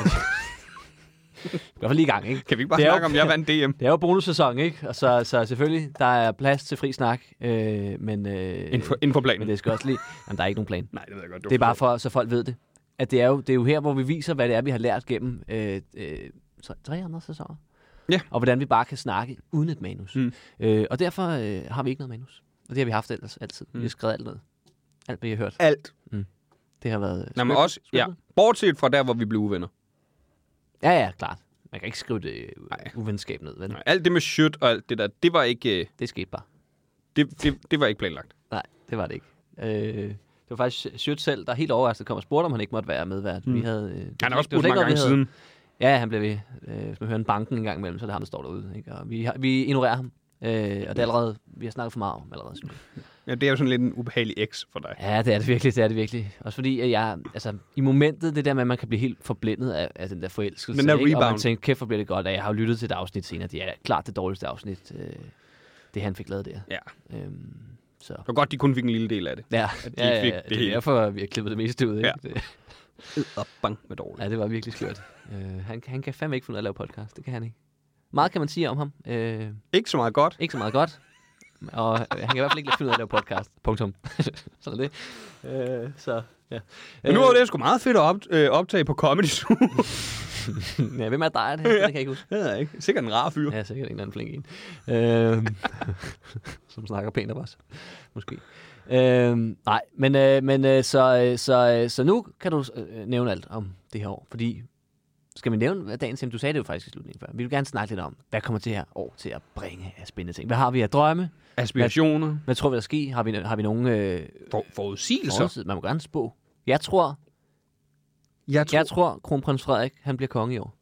Speaker 4: I hvert fald lige i gang, ikke?
Speaker 1: Kan vi ikke bare
Speaker 4: Det er jo-
Speaker 1: snakke om, jeg vandt DM?
Speaker 4: Det er jo bonussæson, ikke? Og så, så selvfølgelig, der er plads til fri snak, øh, men, øh,
Speaker 1: Inden for, inden for planen.
Speaker 4: men det skal også lige... Jamen, der er ikke nogen plan.
Speaker 1: Nej, det ved jeg godt.
Speaker 4: Det er bare for, så folk ved det. At det er jo, det er jo her, hvor vi viser, hvad det er, vi har lært gennem øh, øh, tre- tre andre sæsoner.
Speaker 1: Ja.
Speaker 4: Og hvordan vi bare kan snakke uden et manus.
Speaker 1: Mm.
Speaker 4: Øh, og derfor øh, har vi ikke noget manus. Og det har vi haft ellers altid. Mm. Vi har skrevet alt ned. Alt, hvad I har hørt.
Speaker 1: alt.
Speaker 4: Det har været...
Speaker 1: Nej, men
Speaker 4: scriptet-
Speaker 1: også, ja.
Speaker 4: scriptet.
Speaker 1: Bortset fra der, hvor vi blev uvenner.
Speaker 4: Ja, ja, klart. Man kan ikke skrive det øh,
Speaker 1: Nej.
Speaker 4: uvenskab ned, vel?
Speaker 1: Nej, alt det med shit og alt det der, det var ikke, øh,
Speaker 4: Det skete bare.
Speaker 1: det, det, det var ikke planlagt.
Speaker 4: Nej, det var det ikke. Øh, det var faktisk Sjøt selv, der helt overrasket kom og spurgte, om han ikke måtte være medvært. Mm. Vi havde, øh,
Speaker 1: Han har også
Speaker 4: det
Speaker 1: spurgt
Speaker 4: var slet ikke
Speaker 1: mange
Speaker 4: noget, vi
Speaker 1: gange
Speaker 4: havde-
Speaker 1: siden.
Speaker 4: Ja, han bliver ved. Øh, hvis man hører en banken en gang imellem, så er det ham, der står derude. Ikke? Og vi, har, vi ignorerer ham. Øh, og det er allerede, vi har snakket for meget om allerede. synes jeg.
Speaker 1: Ja, det er jo sådan lidt en ubehagelig eks for dig.
Speaker 4: Ja, det er det virkelig, det er det virkelig. Også fordi, at jeg, altså, i momentet, det der med, at man kan blive helt forblændet af, af den der forelskelse.
Speaker 1: Den der
Speaker 4: ikke? Og man
Speaker 1: rebound.
Speaker 4: tænker, kæft, hvor bliver det godt, og jeg har jo lyttet til et afsnit senere. Det er klart det dårligste afsnit, øh, det han fik lavet der.
Speaker 1: Ja.
Speaker 4: Øhm, så.
Speaker 1: Det var godt, de kun fik en lille del af det.
Speaker 4: Ja,
Speaker 1: At de
Speaker 4: ja,
Speaker 1: ikke
Speaker 4: ja,
Speaker 1: fik
Speaker 4: ja,
Speaker 1: det
Speaker 4: det er
Speaker 1: hele.
Speaker 4: derfor, vi har klippet det meste ud. Ikke? Ja.
Speaker 1: Og bang med dårligt.
Speaker 4: Ja, det var virkelig skørt. øh, han, han kan fandme ikke finde ud af at lave podcast. Det kan han ikke. Meget kan man sige om ham. Øh,
Speaker 1: Ikke så meget godt.
Speaker 4: ikke så meget godt. Og øh, han kan i hvert fald ikke finde ud af at lave podcast. Punktum. Sådan er det. Øh, så, ja.
Speaker 1: Men nu var det sgu meget fedt at op, øh, optage på Comedy Zoo.
Speaker 4: Øh, ja, hvem er dig? Det, det kan jeg ikke huske.
Speaker 1: det ved jeg ikke. Sikkert en rar fyr.
Speaker 4: Ja, sikkert en eller anden flink en. Øhm, som snakker pænt om os. Måske. Øhm, nej, men, øh, men øh, så, øh, så, øh, så nu kan du øh, nævne alt om det her år. Fordi, skal vi nævne hvad dagens emne? Du sagde det jo faktisk i slutningen før. Vi vil gerne snakke lidt om, hvad kommer det her år til at bringe af spændende ting? Hvad har vi af drømme?
Speaker 1: Aspirationer.
Speaker 4: Hvad tror vi, der sker? Har vi, har vi nogen øh,
Speaker 1: For, forudsigelser.
Speaker 4: forudsigelser? Man må gerne spå. Jeg tror,
Speaker 1: Jeg tror,
Speaker 4: jeg tror, kronprins Frederik, han bliver konge i år.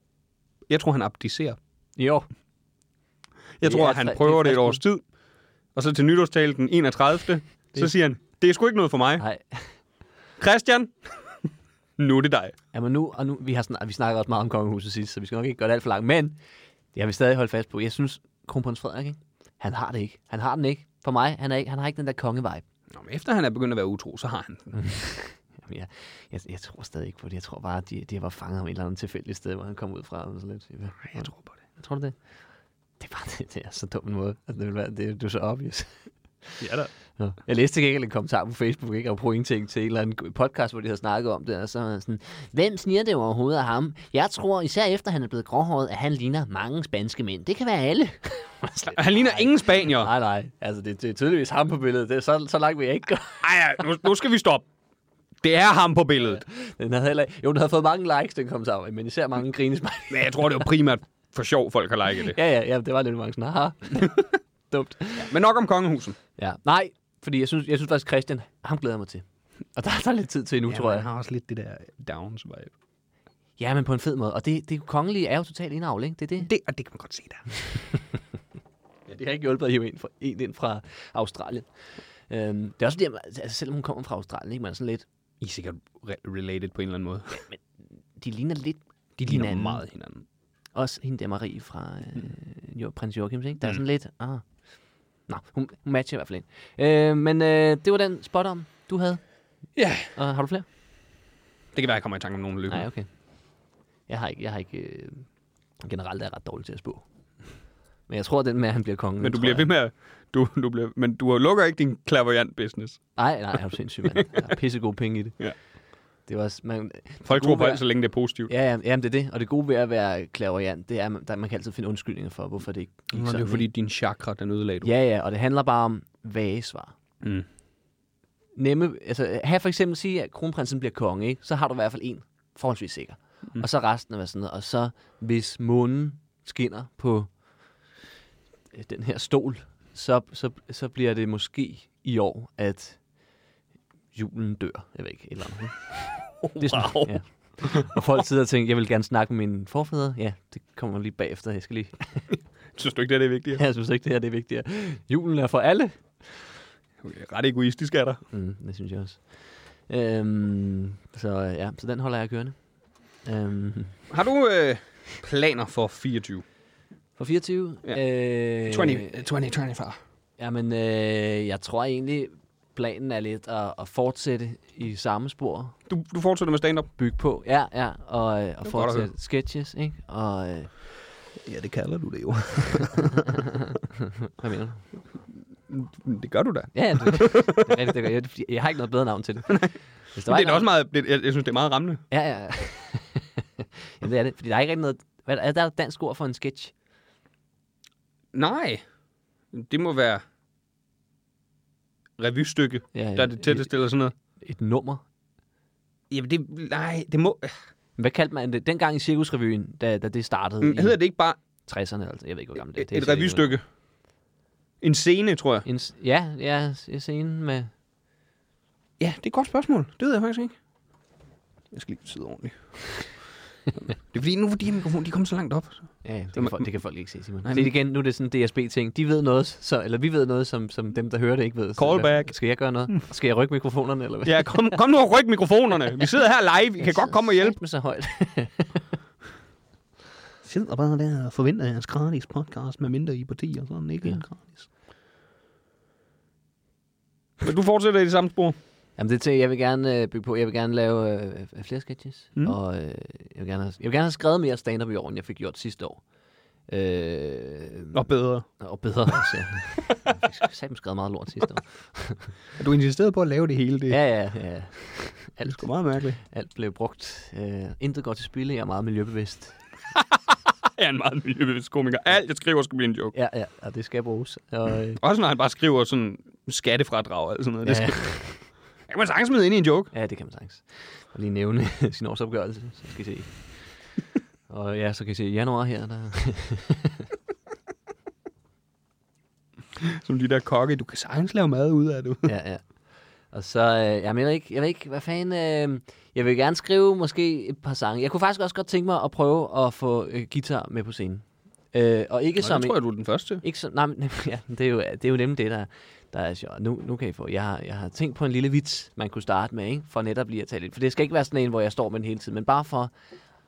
Speaker 1: jeg tror, han abdicerer.
Speaker 4: I år.
Speaker 1: Jeg
Speaker 4: Det
Speaker 1: tror,
Speaker 4: er
Speaker 1: at han
Speaker 4: tre-
Speaker 1: prøver
Speaker 4: det
Speaker 1: det
Speaker 4: er
Speaker 1: et års tid. Og så til nytårstale den 31. Så siger han, det er sgu ikke noget for mig.
Speaker 4: Nej,
Speaker 1: Christian, nu er det dig.
Speaker 4: Ja, men nu, og nu, vi, har snak, vi snakkede også meget om kongehuset sidst, så vi skal nok ikke gøre det alt for langt, men jeg vil stadig holde fast på, jeg synes, kronprins Frederik, ikke? han har det ikke. Han har den ikke. For mig, han, er ikke, han har ikke den der kongevibe.
Speaker 1: Nå, men efter han er begyndt at være utro, så har han den.
Speaker 4: Mm. Jamen, jeg, jeg, jeg, tror stadig ikke på det. Jeg tror bare, at de, de var fanget om et eller andet tilfældigt sted, hvor han kom ud fra. Eller sådan lidt. Nej,
Speaker 1: Jeg tror på det.
Speaker 4: Tror du det? Det er bare det, det er så dum en måde. Altså, det, vil være, det, er- det er så obvious.
Speaker 1: Ja da.
Speaker 4: Nå. Jeg læste ikke en kommentar på Facebook, ikke? Og pointing til en eller anden podcast, hvor de havde snakket om det, og så var jeg sådan, hvem sniger det overhovedet af ham? Jeg tror, især efter han er blevet gråhåret, at han ligner mange spanske mænd. Det kan være alle.
Speaker 1: Han ligner ingen spanier.
Speaker 4: Nej, nej. Altså, det, det er tydeligvis ham på billedet. Det er så, så langt vil jeg ikke gå.
Speaker 1: Ej, ej, nu, nu skal vi stoppe. Det er ham på billedet.
Speaker 4: Den havde heller... Jo, den havde fået mange likes, den kommentar, men især mange grinesmiley.
Speaker 1: Men jeg tror, det var primært for sjov, folk har liket det.
Speaker 4: ja, ja, ja, det var lidt mange sådan, haha. Dumt.
Speaker 1: Men nok om kongehuset.
Speaker 4: Ja. Nej, fordi jeg synes, jeg synes faktisk, Christian, ham glæder jeg mig til. Og der, der er lidt tid til endnu, ja, tror jeg.
Speaker 1: har også lidt det der downs vibe.
Speaker 4: Ja, men på en fed måde. Og det, det kongelige er jo totalt indavl, ikke? Det er det.
Speaker 1: Det, og det kan man godt se der.
Speaker 4: Ja, det har ikke hjulpet at hive en, fra, en ind fra Australien. Øhm, det er også fordi, at man- altså, selvom hun kommer fra Australien, ikke, man er sådan lidt,
Speaker 1: I er sikkert re- related på en eller anden måde.
Speaker 4: de ligner lidt
Speaker 1: De ligner
Speaker 4: hinanden.
Speaker 1: meget Mm. hinanden.
Speaker 4: Også hende der Marie fra øh, jo, prins Joachims, ikke? Der
Speaker 1: Mm.
Speaker 4: er sådan lidt, ah. Nå, hun, hun matcher i hvert fald ind. Øh, men øh, det var den spot om, du havde.
Speaker 1: Ja.
Speaker 4: Og har du flere?
Speaker 1: Det kan være, jeg kommer i tanke om nogen løbende.
Speaker 4: Nej, okay. Jeg har ikke, jeg har ikke øh, generelt er jeg ret dårlig til at spå. Men jeg tror, at den med, at han bliver konge.
Speaker 1: Men du
Speaker 4: tror
Speaker 1: bliver
Speaker 4: jeg-
Speaker 1: ved med at... Du, du bliver, men du lukker ikke din clairvoyant business.
Speaker 4: Nej, nej, jeg er du sindssyg, mand. Jeg har pissegode penge i det.
Speaker 1: Ja.
Speaker 4: Det var også, man,
Speaker 1: Folk tror på
Speaker 4: være.
Speaker 1: alt, så længe det er positivt.
Speaker 4: Ja, ja, jamen det er det. Og det gode ved at være klaverjant, det er, at man, der, man kan altid finde undskyldninger for, hvorfor det ikke gik
Speaker 1: Nå, det er jo
Speaker 4: sådan,
Speaker 1: fordi,
Speaker 4: ikke?
Speaker 1: din chakra, den ødelagde du.
Speaker 4: Ja, ja, og det handler bare om vage svar.
Speaker 1: Mm.
Speaker 4: Nemme, altså have for eksempel sige, at kronprinsen bliver konge, ikke? så har du i hvert fald en forholdsvis sikker. Mm. Og så resten af sådan noget. Og så hvis månen skinner på øh, den her stol, så, så, så bliver det måske i år, at julen dør. Jeg ved ikke, et eller andet. ikke? Det er sådan, wow. ja. Og folk sidder og tænker, jeg vil gerne snakke med mine forfædre. Ja, det kommer lige bagefter. Jeg skal lige
Speaker 1: Synes du ikke, det er det vigtige?
Speaker 4: jeg synes ikke, det her det er vigtigere. Julen er for alle.
Speaker 1: Okay, ret egoistisk er der.
Speaker 4: Mm, det synes jeg også. Øhm, så øh, ja, så den holder jeg kørende. Øhm,
Speaker 1: Har du øh, planer for 24?
Speaker 4: for 24?
Speaker 1: Ja.
Speaker 4: Øh,
Speaker 1: 20, 24.
Speaker 4: Jamen, øh, jeg tror egentlig, planen er lidt at, at fortsætte i samme spor.
Speaker 1: Du, du fortsætter med stand-up?
Speaker 4: Bygge på, ja, ja.
Speaker 1: godt
Speaker 4: Og, øh, og
Speaker 1: at høre.
Speaker 4: fortsætte sketches, ikke? Og, øh,
Speaker 1: Ja, det kalder du det jo.
Speaker 4: hvad mener du?
Speaker 1: Det gør du da.
Speaker 4: Ja, ja, det, det, er rigtigt, det, gør jeg. jeg. Jeg har ikke noget bedre navn til det. Hvis der
Speaker 1: Men det er
Speaker 4: var et
Speaker 1: da
Speaker 4: navn-
Speaker 1: også meget, det, jeg, jeg synes, det er meget rammende.
Speaker 4: Ja, ja. ja. Jamen, det er det. Fordi der er ikke rigtig noget... Hvad, er der et dansk ord for en sketch?
Speaker 1: Nej, det må være revystykke,
Speaker 4: Ja,
Speaker 1: der er det tætteste eller sådan noget.
Speaker 4: Et, et nummer.
Speaker 1: Jamen, det, nej, det må...
Speaker 4: Hvad kaldte man det? Dengang i Cirkusrevyen, da, da det startede
Speaker 1: Mm,
Speaker 4: i
Speaker 1: Hedder det ikke bare
Speaker 4: 60'erne, altså. Jeg ved ikke, hvor gammelt det er.
Speaker 1: et,
Speaker 4: Det er
Speaker 1: et
Speaker 4: sikkert ikke
Speaker 1: revystykke? En scene, tror jeg.
Speaker 4: noget. En, s- ja, ja, s- en scene med...
Speaker 1: Ja, det er et godt spørgsmål. Det ved jeg faktisk ikke. Jeg skal lige sidde ordentligt. det er fordi, nu fordi mikrofonen, de kom så langt op.
Speaker 4: Ja, ja, det, kan
Speaker 1: man-
Speaker 4: folk, det kan folk ikke se, Simon.
Speaker 1: Nej,
Speaker 4: Nej, det
Speaker 1: men-
Speaker 4: igen, nu er det sådan en DSB-ting. De ved noget, så, eller vi ved noget, som, som dem, der hører det, ikke ved. Så
Speaker 1: Callback.
Speaker 4: hvad- Skal jeg gøre noget? Skal jeg rykke mikrofonerne, eller hvad?
Speaker 1: Ja, kom, kom nu og ryk mikrofonerne. Vi sidder her live. I kan godt komme og hjælpe.
Speaker 4: med så højt.
Speaker 1: sidder bare der og forventer jeres gratis podcast, med mindre I parti og sådan, ikke
Speaker 4: Ja.
Speaker 1: gratis. Men du fortsætter i det samme spor.
Speaker 4: Jamen det er ting, jeg vil gerne øh, bygge på. Jeg vil gerne lave øh, øh, flere sketches,
Speaker 1: Mm.
Speaker 4: mm. og øh, jeg, vil gerne have, jeg vil gerne have skrevet mere stand-up i år, end jeg fik gjort sidste år. Øh,
Speaker 1: Og bedre.
Speaker 4: Og bedre også, ja. Jeg fik sgu satme skrevet meget lort sidste år.
Speaker 1: Du insisterede på at lave det hele. Det
Speaker 4: Ja, ja, ja. Alt,
Speaker 1: sgu meget mærkeligt.
Speaker 4: alt blev brugt. Øh, intet går til spilde, jeg er meget miljøbevidst.
Speaker 1: Jeg er en meget miljøbevidst komiker. Alt, jeg skriver, skal blive en joke.
Speaker 4: Ja, ja, og det skal bruges. Og, øh,
Speaker 1: Også når han bare skriver sådan skattefradrag og alt sådan noget. Det
Speaker 4: ja,
Speaker 1: skal, jeg må sagtens smide ind i en joke.
Speaker 4: ja, det kan man sagtens. Og lige nævne sin årsopgørelse, så skal I se. Og ja, så kan I se i januar her, der...
Speaker 1: Som de der kokke. Du kan sagtens lave mad ud af det.
Speaker 4: Ja, ja. Og så, øh, jeg mener ikke, jeg ved ikke, hvad fanden, øh, jeg vil gerne skrive måske et par sange. Jeg kunne faktisk også godt tænke mig at prøve at få øh, guitar med på scenen. Øh, og ikke
Speaker 1: Det
Speaker 4: som...
Speaker 1: tror jeg, du er den første.
Speaker 4: Ikke så, nej, men, ja, det, er jo, det er jo nemlig det, der, der er sjovt. Nu, nu kan I få. Jeg har, jeg har tænkt på en lille vits, man kunne starte med, ikke? for netop lige at tage lidt. For det skal ikke være sådan en, hvor jeg står med den hele tiden, men bare for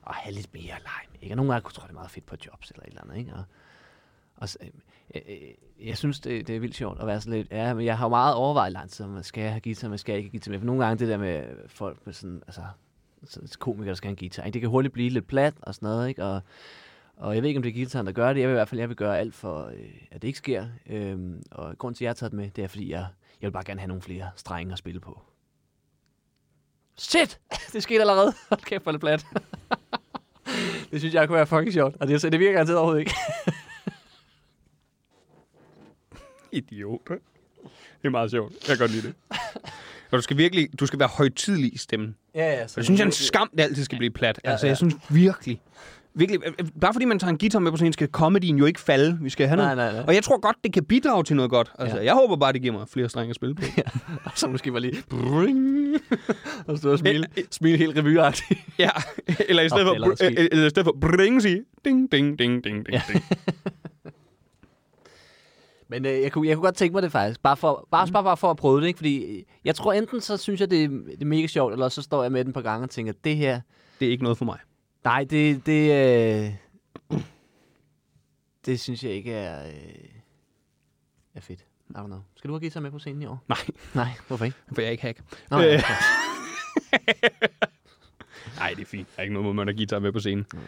Speaker 4: at have lidt mere leg med. Ikke? Og nogle gange kunne jeg tro, det er meget fedt på jobs eller et eller andet. Ikke? Og, og så, øh, øh, øh, jeg synes, det, det er vildt sjovt at være sådan lidt... Ja, men jeg har jo meget overvejet lang tid, om skal jeg have guitar, men skal jeg ikke have guitar med? For nogle gange det der med folk med sådan... Altså, sådan komikere, der skal have en guitar. Ikke? Det kan hurtigt blive lidt plat og sådan noget, ikke? Og, og jeg ved ikke, om det er guitaren, der gør det. Jeg vil i hvert fald jeg vil gøre alt for, øh, at det ikke sker. Øhm, og grunden til, at jeg har taget det med, det er, fordi jeg, jeg vil bare gerne have nogle flere strenge at spille på. Shit! Det skete allerede. Hold kæft, hvor er det plat. det synes jeg kunne være fucking sjovt. Og det, det virker garanteret overhovedet ikke.
Speaker 1: Idiot. Det er meget sjovt. Jeg kan godt lide det. Og du skal virkelig, du skal være højtidlig i stemmen.
Speaker 4: ja, ja.
Speaker 1: Og det synes jeg er en skam, det altid skal blive plat.
Speaker 4: Ja,
Speaker 1: Altså,
Speaker 4: ja.
Speaker 1: jeg synes virkelig, virkelig, øh, bare fordi man tager en guitar med på scenen, skal comedyen jo ikke falde. Vi skal have
Speaker 4: Nej,
Speaker 1: noget.
Speaker 4: nej, nej.
Speaker 1: Og jeg tror godt, det kan bidrage til noget godt. Altså,
Speaker 4: Ja.
Speaker 1: jeg håber bare, det giver mig flere strenge at spille på.
Speaker 4: Så måske var lige... Bring, og stå og smile, smile helt revyagtigt.
Speaker 1: Ja, eller i stedet,
Speaker 4: Nå,
Speaker 1: for,
Speaker 4: det er allerede
Speaker 1: br-
Speaker 4: sket.
Speaker 1: eller i stedet for bring sige, ding, ding, ding, ding, ding,
Speaker 4: Ja.
Speaker 1: ding.
Speaker 4: Men øh, jeg, kunne, jeg kunne godt tænke mig det faktisk, bare for, bare, bare, bare for at prøve det, ikke? fordi øh, jeg tror enten, så synes jeg, det er, det er mega sjovt, eller så står jeg med den på gange og tænker, det her,
Speaker 1: Det er ikke noget for mig.
Speaker 4: nej, det, det, øh, det synes jeg ikke er, øh, er fedt. I don't know. Skal du have guitar med på scenen i år?
Speaker 1: Nej,
Speaker 4: Nej, hvorfor ikke?
Speaker 1: for jeg er ikke hack.
Speaker 4: Nå, øh.
Speaker 1: Øh. Nej, det er fint. Der er ikke noget mod, man har guitar med på scenen. Mm.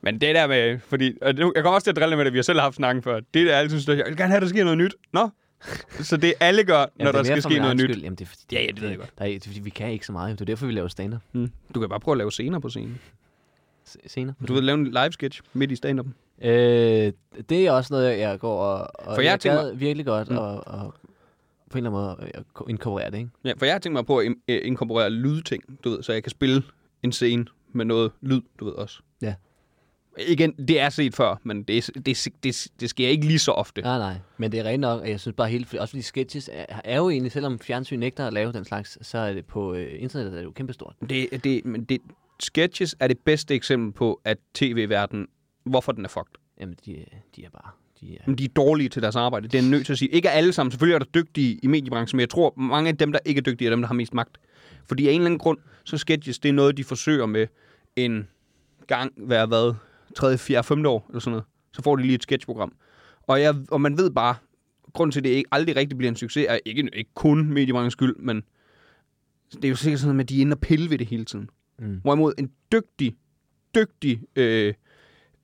Speaker 1: Men det der med, fordi, og nu- jeg kommer også til at drille med det, vi har selv haft snakken før. Det der altid synes, jeg vil gerne have, der sker noget nyt. Nå? Så det alle gør, når
Speaker 4: Jamen, det er
Speaker 1: der
Speaker 4: mere
Speaker 1: skal
Speaker 4: for
Speaker 1: ske
Speaker 4: min
Speaker 1: noget
Speaker 4: egen
Speaker 1: nyt.
Speaker 4: skyld. Jamen, det er, fordi,
Speaker 1: Ja, ja, det ved jeg godt.
Speaker 4: Der er, det er, fordi, vi kan ikke så meget. Det er derfor, vi laver stand-up
Speaker 1: Mm. Du kan bare prøve at lave scener på scenen.
Speaker 4: se- senere.
Speaker 1: Du ved, lave en live sketch midt i stand -upen.
Speaker 4: Øh, det er også noget, jeg går og, og
Speaker 1: For jeg
Speaker 4: jeg
Speaker 1: tænker-
Speaker 4: gad virkelig godt mm. og, og på en eller anden måde at ko- inkorporere det, ikke?
Speaker 1: Ja, for jeg har tænkt mig på at im- øh, inkorporere lydting, du ved, så jeg kan spille en scene med noget lyd, du ved også.
Speaker 4: Ja.
Speaker 1: Igen, det er set før, men det, er- det, er- det, det sker ikke lige så ofte.
Speaker 4: Nej, nej. Men det er rent nok, at jeg synes bare helt... Også fordi sketches er, er jo egentlig, selvom fjernsyn nægter at lave den slags, så er det på øh, internettet er det jo kæmpestort.
Speaker 1: Det, det, men det, sketches er det bedste eksempel på, at tv-verdenen, hvorfor den er fucked.
Speaker 4: Jamen, de, øh, de er bare... De er,
Speaker 1: Men de er dårlige til deres arbejde. Det er jeg nødt til at sige. Ikke alle sammen. Selvfølgelig er der dygtige i mediebranchen, men jeg tror, mange af dem, der ikke er dygtige, er dem, der har mest magt. Fordi af en eller anden grund, så sketches, det er noget, de forsøger med en gang hver hvad, 3., 4., 5. år, eller sådan noget. Så får de lige et sketchprogram. Og, jeg, og man ved bare, grunden til, at det ikke, aldrig rigtig bliver en succes, er ikke, ikke kun mediebranchens skyld, men det er jo sikkert sådan noget med, at de er inde og pille ved det hele tiden.
Speaker 4: Mm.
Speaker 1: Hvorimod en dygtig, dygtig øh,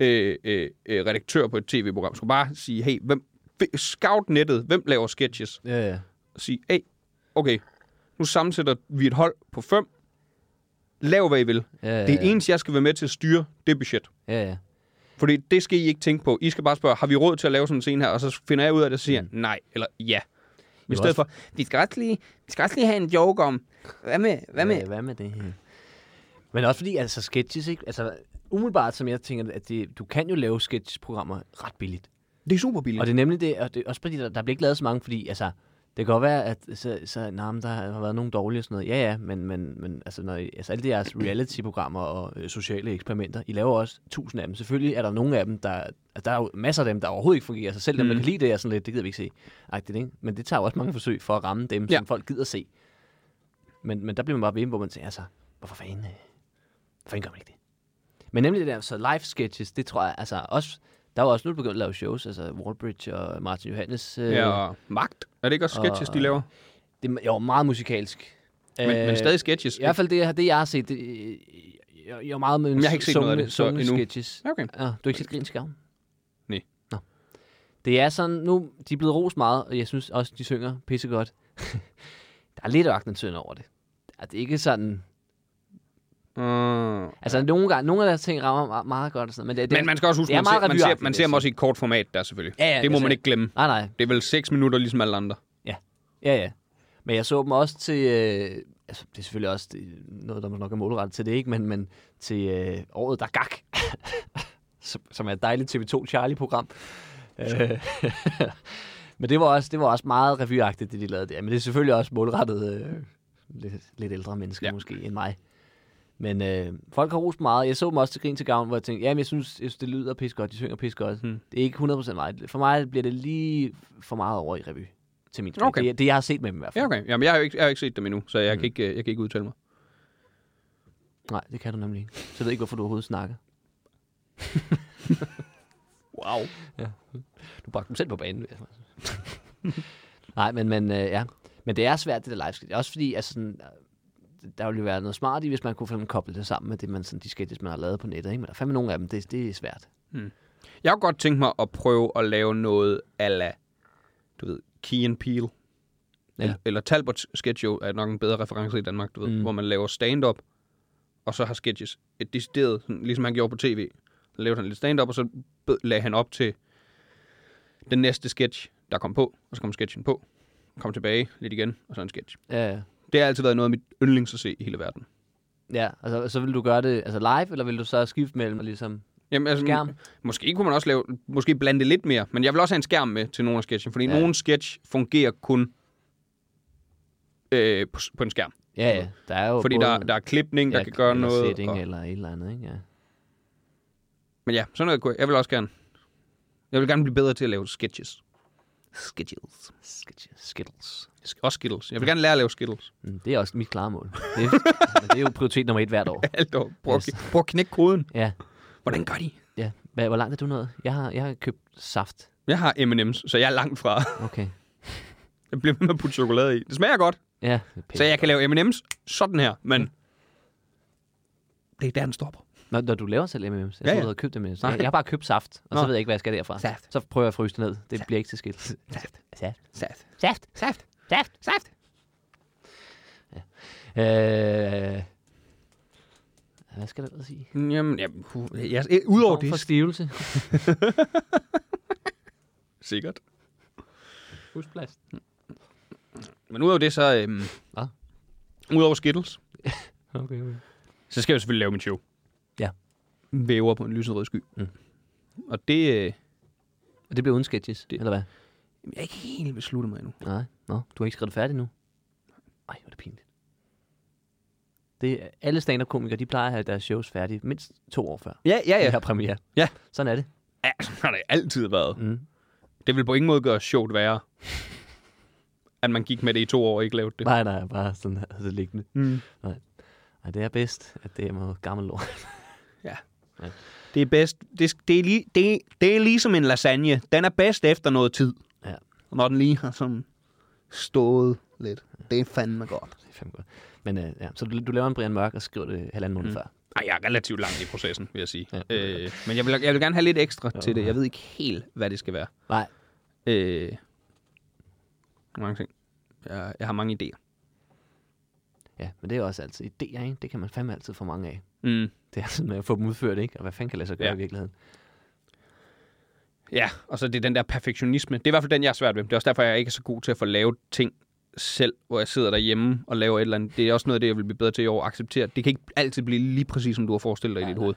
Speaker 1: øh, øh, øh, redaktør på et tv-program skulle bare sige, hey, hvem, f- scout nettet, hvem laver sketches?
Speaker 4: øh,
Speaker 1: Og sige, hey, okay, nu sammensætter vi et hold på fem, lav hvad I vil.
Speaker 4: øh,
Speaker 1: Det eneste, jeg skal være med til at styre, det er budget.
Speaker 4: Ja, ja.
Speaker 1: Fordi det skal I ikke tænke på. I skal bare spørge, har vi råd til at lave sådan en scene her? Og så finder jeg ud af det og siger, mm. nej, eller ja. I
Speaker 4: Jo,
Speaker 1: stedet
Speaker 4: også-
Speaker 1: for, vi skal, også lige, vi skal også lige have en joke om, hvad med, hvad med
Speaker 4: Øh, hvad med det her? Men også fordi, altså sketches, ikke? Altså, umiddelbart, som jeg tænker, at det, du kan jo lave sketchprogrammer ret billigt.
Speaker 1: Det er super billigt.
Speaker 4: Og det er nemlig det, og det er også fordi, der, der bliver ikke lavet så mange, fordi altså, det kan godt være, at så, så, nah, men der har været nogle dårlige og sådan noget. Ja, ja, men, men, men altså, når, I- altså, alle de jeres reality-programmer og øh, sociale eksperimenter, I laver også tusind af dem. Selvfølgelig er der nogle af dem, der... Altså, der er jo masser af dem, der overhovedet ikke fungerer. Så selv dem,
Speaker 1: Mm.
Speaker 4: der kan lide det, er sådan lidt, det gider vi ikke se. Agtigt, ikke? Men det tager jo også mange forsøg for at ramme dem,
Speaker 1: Ja.
Speaker 4: som folk gider se. Men, men der bliver man bare ved, hvor man tænker, altså, hvorfor fanden, øh, hvorfor fanden gør man ikke det? Men nemlig det der, så live sketches, det tror jeg, altså også, der er jo også nu begyndt at lave shows, altså Wallbridge og Martin Johannes. Øh,
Speaker 1: Ja, og magt. Er det ikke også sketches,
Speaker 4: og-
Speaker 1: de laver?
Speaker 4: Det er jo meget musikalsk.
Speaker 1: Men, øh, men stadig sketches.
Speaker 4: I hvert fald det, det jeg har set, det, øh, jeg, jeg er meget med
Speaker 1: jeg har ikke set noget af det, så
Speaker 4: summende
Speaker 1: endnu.
Speaker 4: sketches.
Speaker 1: Ja, Okay.
Speaker 4: Ja, du har ikke set Grin Skærm?
Speaker 1: Nej.
Speaker 4: Nå. Det er sådan, nu, de er blevet rost meget, og jeg synes også, de synger pissegodt. der er lidt ørkenen over det. Er det er ikke sådan...
Speaker 1: Mm.
Speaker 4: Altså, nogle, gange, nogle af deres ting rammer me- meget godt og sådan noget, men det, det
Speaker 1: Men man skal også huske,
Speaker 4: det er
Speaker 1: man, ser,
Speaker 4: meget
Speaker 1: man, ser,
Speaker 4: revyagtigt,
Speaker 1: man
Speaker 4: vil
Speaker 1: ser
Speaker 4: jeg
Speaker 1: dem også i et kort format der selvfølgelig.
Speaker 4: Ja, ja,
Speaker 1: det må
Speaker 4: altså-
Speaker 1: man ikke glemme.
Speaker 4: Nej, nej.
Speaker 1: Det er vel 6 minutter ligesom alle andre.
Speaker 4: Ja, ja. Men jeg så dem også til... Øh, altså, det er selvfølgelig også det, noget, der nok er målrettet til det, ikke? Men, men til øh, året, der gak. som, som er et dejligt TV2 Charlie-program. Øh, men det var, også, det var også meget revyagtigt, det de lavede der. Men det er selvfølgelig også målrettet øh, lidt, lidt ældre mennesker
Speaker 1: Ja.
Speaker 4: ja. måske end mig. Men øh, folk har rost meget. Jeg så dem også til Grin til Gavn, hvor jeg tænkte, jamen jeg synes, jeg synes det lyder pis godt, de synger pis godt.
Speaker 1: Hmm.
Speaker 4: Hmm. Det er ikke 100% mig. For mig bliver det lige for meget over i revy til min smag.
Speaker 1: Okay.
Speaker 4: Okay. Det, er- det, jeg har set med dem i hvert fald.
Speaker 1: Ja, okay. Jamen, jeg har jo ikke, jeg har jo ikke set dem endnu, så jeg, mm. kan, ikke, øh, jeg kan ikke udtale mig.
Speaker 4: Nej, det kan du nemlig ikke. Så jeg ved ikke, hvorfor du overhovedet snakker. wow. Ja. Du bragte dem selv på banen. altså. Nej, men, men øh, ja. Men det er svært, det der live sketch. Også fordi, altså, sådan, øh, der ville jo være noget smart i, hvis man kunne finde koble det sammen med det, man, sådan, de sketches, man har lavet på nettet. Ikke? Men der er fandme nogle af dem, det, det er svært.
Speaker 1: Jeg kunne godt tænke mig at prøve at lave noget ala, du ved, Key and Peele.
Speaker 4: Ja.
Speaker 1: Eller, eller Talbots sketch show er nok en bedre reference i Danmark, du ved, mm.
Speaker 4: Mm.
Speaker 1: hvor man laver stand-up, og så har sketches et decideret, sådan, ligesom han gjorde på tv. Så lavede han lidt stand-up, og så bed- lagde han op til den næste sketch, der kom på, og så kom sketchen på, kom tilbage lidt igen, og så en sketch.
Speaker 4: Ja, ja.
Speaker 1: Det har altid været noget af mit yndlings at se i hele verden.
Speaker 4: ja altså, så vil du gøre det altså live, eller vil du så skifte mellem og ligesom...
Speaker 1: Jamen, altså,
Speaker 4: Skærm.
Speaker 1: m- Måske kunne man også lave, måske blande det lidt mere, men jeg vil også have en skærm med til nogle af sketchen, fordi ja.
Speaker 4: Ja.
Speaker 1: nogle sketch fungerer kun øh, på, s- på en skærm.
Speaker 4: Ja, ja. Der er jo
Speaker 1: Fordi
Speaker 4: både,
Speaker 1: der, der er klipning, der
Speaker 4: ja,
Speaker 1: kan gøre
Speaker 4: eller
Speaker 1: noget.
Speaker 4: Setting,
Speaker 1: og,
Speaker 4: og... eller et eller andet, ikke? Ja.
Speaker 1: Men ja, sådan noget kunne jeg. Jeg vil også gerne. Jeg vil gerne blive bedre til at lave sketches. Sketches.
Speaker 4: Sketches. Skittles.
Speaker 1: Og skittles. Jeg vil gerne lære at lave skittles.
Speaker 4: Mm, Det er også mit klare mål. Det, er- men det er jo prioritet nummer et hvert år.
Speaker 1: Alt over. Prøv, yes.
Speaker 4: Yes.
Speaker 1: prøv at knække koden.
Speaker 4: Ja,
Speaker 1: Hvordan gør de?
Speaker 4: ja. Hvad, hvor langt er du nået? Jeg har, jeg har købt saft.
Speaker 1: Jeg har M&M's, så jeg er langt fra.
Speaker 4: Okay.
Speaker 1: Jeg bliver ved med at putte chokolade i. Det smager godt.
Speaker 4: Ja, det er pænt.
Speaker 1: Så jeg kan lave M&M's sådan her, men Mm. det er der, den stopper.
Speaker 4: når, når du laver selv M&M's, jeg
Speaker 1: Ja,
Speaker 4: tror,
Speaker 1: ja.
Speaker 4: du havde købt M&M's.
Speaker 1: Nej.
Speaker 4: Jeg, jeg har bare købt saft, og
Speaker 1: Nå.
Speaker 4: så ved jeg ikke, hvad jeg skal derfra.
Speaker 1: Saft.
Speaker 4: Så prøver jeg at fryse det ned. Det bliver ikke til skilt. Saft. Saft.
Speaker 1: Saft.
Speaker 4: Saft.
Speaker 1: Saft.
Speaker 4: Saft.
Speaker 1: Saft.
Speaker 4: Øh, hvad skal jeg ellers sige?
Speaker 1: Jamen, jeg, jeg, jeg, udover
Speaker 4: Form for
Speaker 1: det,
Speaker 4: stivelse.
Speaker 1: sikkert.
Speaker 4: Husplast.
Speaker 1: Men udover det, så... Øhm,
Speaker 4: Hvad?
Speaker 1: Udover Skittles,
Speaker 4: Okay, okay.
Speaker 1: så skal jeg jo selvfølgelig lave min show.
Speaker 4: Ja.
Speaker 1: Væver på en lyserød sky. Mm.
Speaker 4: Mm.
Speaker 1: Og det... Øh,
Speaker 4: Og det bliver uden sketches,
Speaker 1: Det-
Speaker 4: det. eller hvad?
Speaker 1: jeg er ikke helt besluttet mig endnu.
Speaker 4: Nej, nå, du har ikke skrevet det færdigt nu. Ej, hvor er det pinligt. Det, er- alle stand-up-komikere, de plejer at have deres shows færdige mindst to år før.
Speaker 1: Ja, ja,
Speaker 4: Ja.
Speaker 1: ja.
Speaker 4: De har premiere.
Speaker 1: Ja.
Speaker 4: Sådan er det.
Speaker 1: ja sådan har det altid været.
Speaker 4: Mm.
Speaker 1: Det vil på ingen måde gøre sjovt værre, at man gik med det i to år og ikke lavede det.
Speaker 4: Nej, nej, bare sådan her, altså liggende.
Speaker 1: Mm.
Speaker 4: Nej, det er bedst, at det er noget gammel lort.
Speaker 1: Det er bedst. Det, det, er lige, det, det er ligesom en lasagne. Den er bedst efter noget tid.
Speaker 4: Ja.
Speaker 1: Når den lige har sådan stået lidt. Det er fandme godt.
Speaker 4: Det er fandme godt. Men øh, ja, så du, du laver en Brian Mørk og skriver det halvanden måned mm. før.
Speaker 1: Ej, jeg er relativt langt i processen, vil jeg sige.
Speaker 4: Ja.
Speaker 1: Øh, men jeg vil, jeg vil gerne have lidt ekstra ja,
Speaker 4: Ja,
Speaker 1: til det.
Speaker 4: ja.
Speaker 1: Jeg ved ikke helt, hvad det skal være.
Speaker 4: Nej,
Speaker 1: Øh, mange ting. Jeg, jeg har mange idéer.
Speaker 4: ja, men det er også altid idéer, ikke? Det kan man fandme altid få mange af.
Speaker 1: Mm.
Speaker 4: Det er sådan med at få dem udført, ikke? Og hvad fanden kan lade sig gøre
Speaker 1: Ja.
Speaker 4: ja. i virkeligheden?
Speaker 1: Ja, og så det er den der perfektionisme. Det er i hvert fald den, jeg er svært ved. Det er også derfor, jeg ikke er så god til at få lavet ting selv, hvor jeg sidder derhjemme og laver et eller andet. Det er også noget af det, jeg vil blive bedre til i år at acceptere. Det kan ikke altid blive lige præcis, som du har forestillet dig ja, i dit hoved.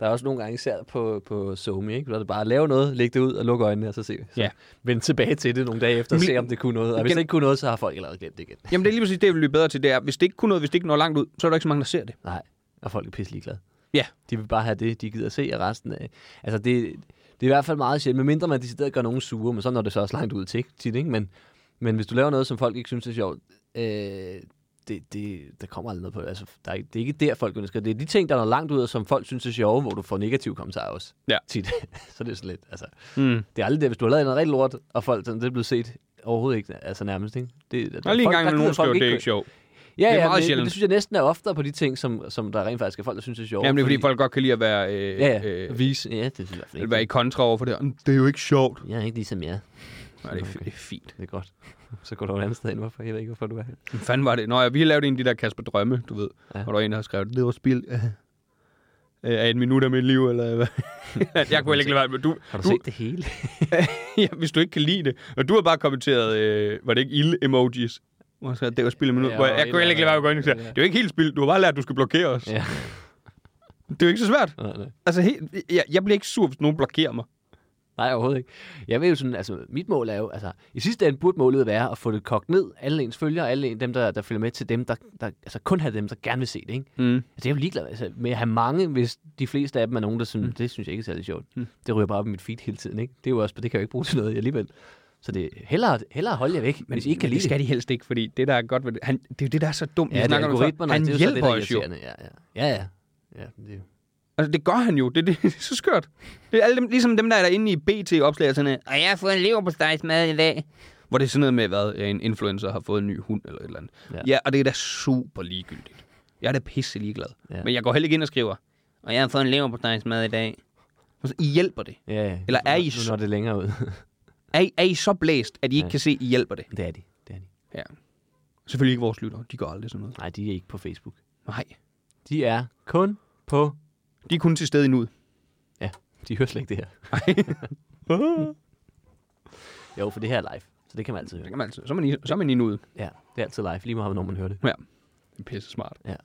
Speaker 4: Der er også nogle gange især på, på Zoom, ikke? Hvor det bare at lave noget, lægge det ud og lukke øjnene, og så se. Så
Speaker 1: Ja.
Speaker 4: Vende tilbage til det nogle dage efter, og
Speaker 1: Min-
Speaker 4: se om det kunne noget. Og hvis
Speaker 1: Gen-
Speaker 4: det ikke kunne noget, så har folk allerede glemt det igen.
Speaker 1: Jamen det er lige præcis det, jeg vil blive bedre til. Det er, hvis det ikke kunne noget, hvis det ikke når langt ud, så er der ikke så mange, der ser det.
Speaker 4: Nej, og folk er pisse ligeglade.
Speaker 1: Ja.
Speaker 4: De vil bare have det, de gider se, og resten af... Altså, det, det er i hvert fald meget sjældent, medmindre man decideret gør nogen sure, men så når det så også langt ud til, tit, ikke? Men, men hvis du laver noget, som folk ikke synes er sjovt, øh, det, det, der kommer aldrig noget på det. Altså, der er, ikke- det er ikke der, folk ønsker. Det er de ting, der er langt ud, og som folk synes er sjove, hvor du får negative kommentarer også.
Speaker 1: Ja.
Speaker 4: Tit. så det er sådan lidt, altså...
Speaker 1: Mm.
Speaker 4: Det er aldrig det, hvis du har lavet noget rigtig lort, og folk sådan, det er blevet set overhovedet ikke, altså nærmest, ikke?
Speaker 1: Og
Speaker 4: Det,
Speaker 1: lige en gang,
Speaker 4: folk- der
Speaker 1: når
Speaker 4: gider
Speaker 1: nogen
Speaker 4: folk
Speaker 1: skriver, det er
Speaker 4: gå-
Speaker 1: ikke sjovt.
Speaker 4: Ja,
Speaker 1: Det er
Speaker 4: ja,
Speaker 1: meget
Speaker 4: men, men
Speaker 1: sjældent.
Speaker 4: det synes jeg næsten er oftere på de ting, som, som der rent faktisk er folk, der synes er sjovt.
Speaker 1: Jamen, det er fordi, folk godt kan lide at være, øh,
Speaker 4: Ja, ja.
Speaker 1: øh,
Speaker 4: vise. Ja, det er i hvert fald
Speaker 1: at
Speaker 4: ikke.
Speaker 1: være i kontra over for det. "Mm, Det er jo ikke sjovt.
Speaker 4: Jeg er ikke ligesom jer.
Speaker 1: Nej, det er, f- det er fint.
Speaker 4: Det er godt. Så går du et andet sted ind. Hvorfor? Jeg ved ikke, hvorfor du er her.
Speaker 1: Hvad fanden var det? Nå ja, vi har lavet en af de der Kasper Drømme, du ved.
Speaker 4: Ja.
Speaker 1: Ja. Og der var en, der har skrevet, det var spild af, af et minut af mit liv, eller hvad? jeg kunne heller ikke lade være med, du,
Speaker 4: Har du,
Speaker 1: du
Speaker 4: set det hele?
Speaker 1: ja, hvis du ikke kan lide det. Og du har bare kommenteret, øh, var det ikke ilde-emojis? Hvor jeg sagde, det var spild af minut.
Speaker 4: Ja,
Speaker 1: Ja, jeg,
Speaker 4: og
Speaker 1: jeg kunne heller ikke lade være med at gå ind og sige,
Speaker 4: Ja.
Speaker 1: det er jo ikke helt spild, du har bare lært, at du skal blokere os.
Speaker 4: ja.
Speaker 1: Det er jo ikke så svært.
Speaker 4: Nej, nej.
Speaker 1: Altså, helt, jeg, jeg bliver ikke sur, hvis nogen blokerer mig.
Speaker 4: nej, overhovedet ikke. Jeg vil jo sådan, altså, mit mål er jo, altså, i sidste ende burde målet være at få det kogt ned. Alle ens følgere, alle en- dem, der, der følger med til dem, der, der altså, kun har dem, der gerne vil se det, ikke?
Speaker 1: Mm.
Speaker 4: Altså, jeg er jo ligeglad altså, med at have mange, hvis de fleste af dem er nogen, der synes, mm. det synes jeg ikke er særlig sjovt. Mm. Det ryger bare op i mit feed hele tiden, ikke? Det er jo også, det kan jeg jo ikke bruge til noget alligevel. Så det er hellere, hellere holde jer væk, men, hvis I ikke kan
Speaker 1: men det
Speaker 4: lide
Speaker 1: skal de helst ikke, fordi det, der er godt ved det, han, det er jo det, der er så dumt, vi
Speaker 4: Ja, det er
Speaker 1: snakker om det før.
Speaker 4: algoritmerne,
Speaker 1: Han
Speaker 4: det er jo så det,
Speaker 1: hjælper
Speaker 4: der er
Speaker 1: os jo.
Speaker 4: irriterende. Ja, ja. Ja, ja. ja det er jo.
Speaker 1: Altså, det gør han jo. Det, det, det er så skørt. Det er alle dem, ligesom dem, der er derinde i BT-opslag, sådan noget, og jeg har fået en lever på mad i dag. Hvor det er sådan noget med, hvad en influencer har fået en ny hund eller et eller andet.
Speaker 4: Ja.
Speaker 1: Ja, ja og det er da super ligegyldigt. Jeg er da pisse ligeglad.
Speaker 4: Ja.
Speaker 1: Ja. Men jeg går heller ikke ind og skriver, og jeg har fået en lever på mad i dag. Og så, I hjælper det.
Speaker 4: Ja, ja.
Speaker 1: Eller er I
Speaker 4: Nu- Nu
Speaker 1: så-
Speaker 4: når det længere ud.
Speaker 1: Er I, er I så blæst, at I ikke
Speaker 4: Ja.
Speaker 1: ja. kan se, I hjælper det?
Speaker 4: det er de. Det er de.
Speaker 1: Ja. Selvfølgelig ikke vores lyttere. De gør aldrig sådan noget.
Speaker 4: Nej, de er ikke på Facebook.
Speaker 1: Nej.
Speaker 4: De er kun på...
Speaker 1: De er kun til stede nu.
Speaker 4: Ja, de hører slet ikke det her. Jo, for det her er live. Så det kan man altid
Speaker 1: Det
Speaker 4: høre.
Speaker 1: kan man altid. Så er man, i, så er man i nuet.
Speaker 4: Ja, det er altid live, lige meget når man hører det.
Speaker 1: Ja. Det er pisse smart.
Speaker 4: Ja.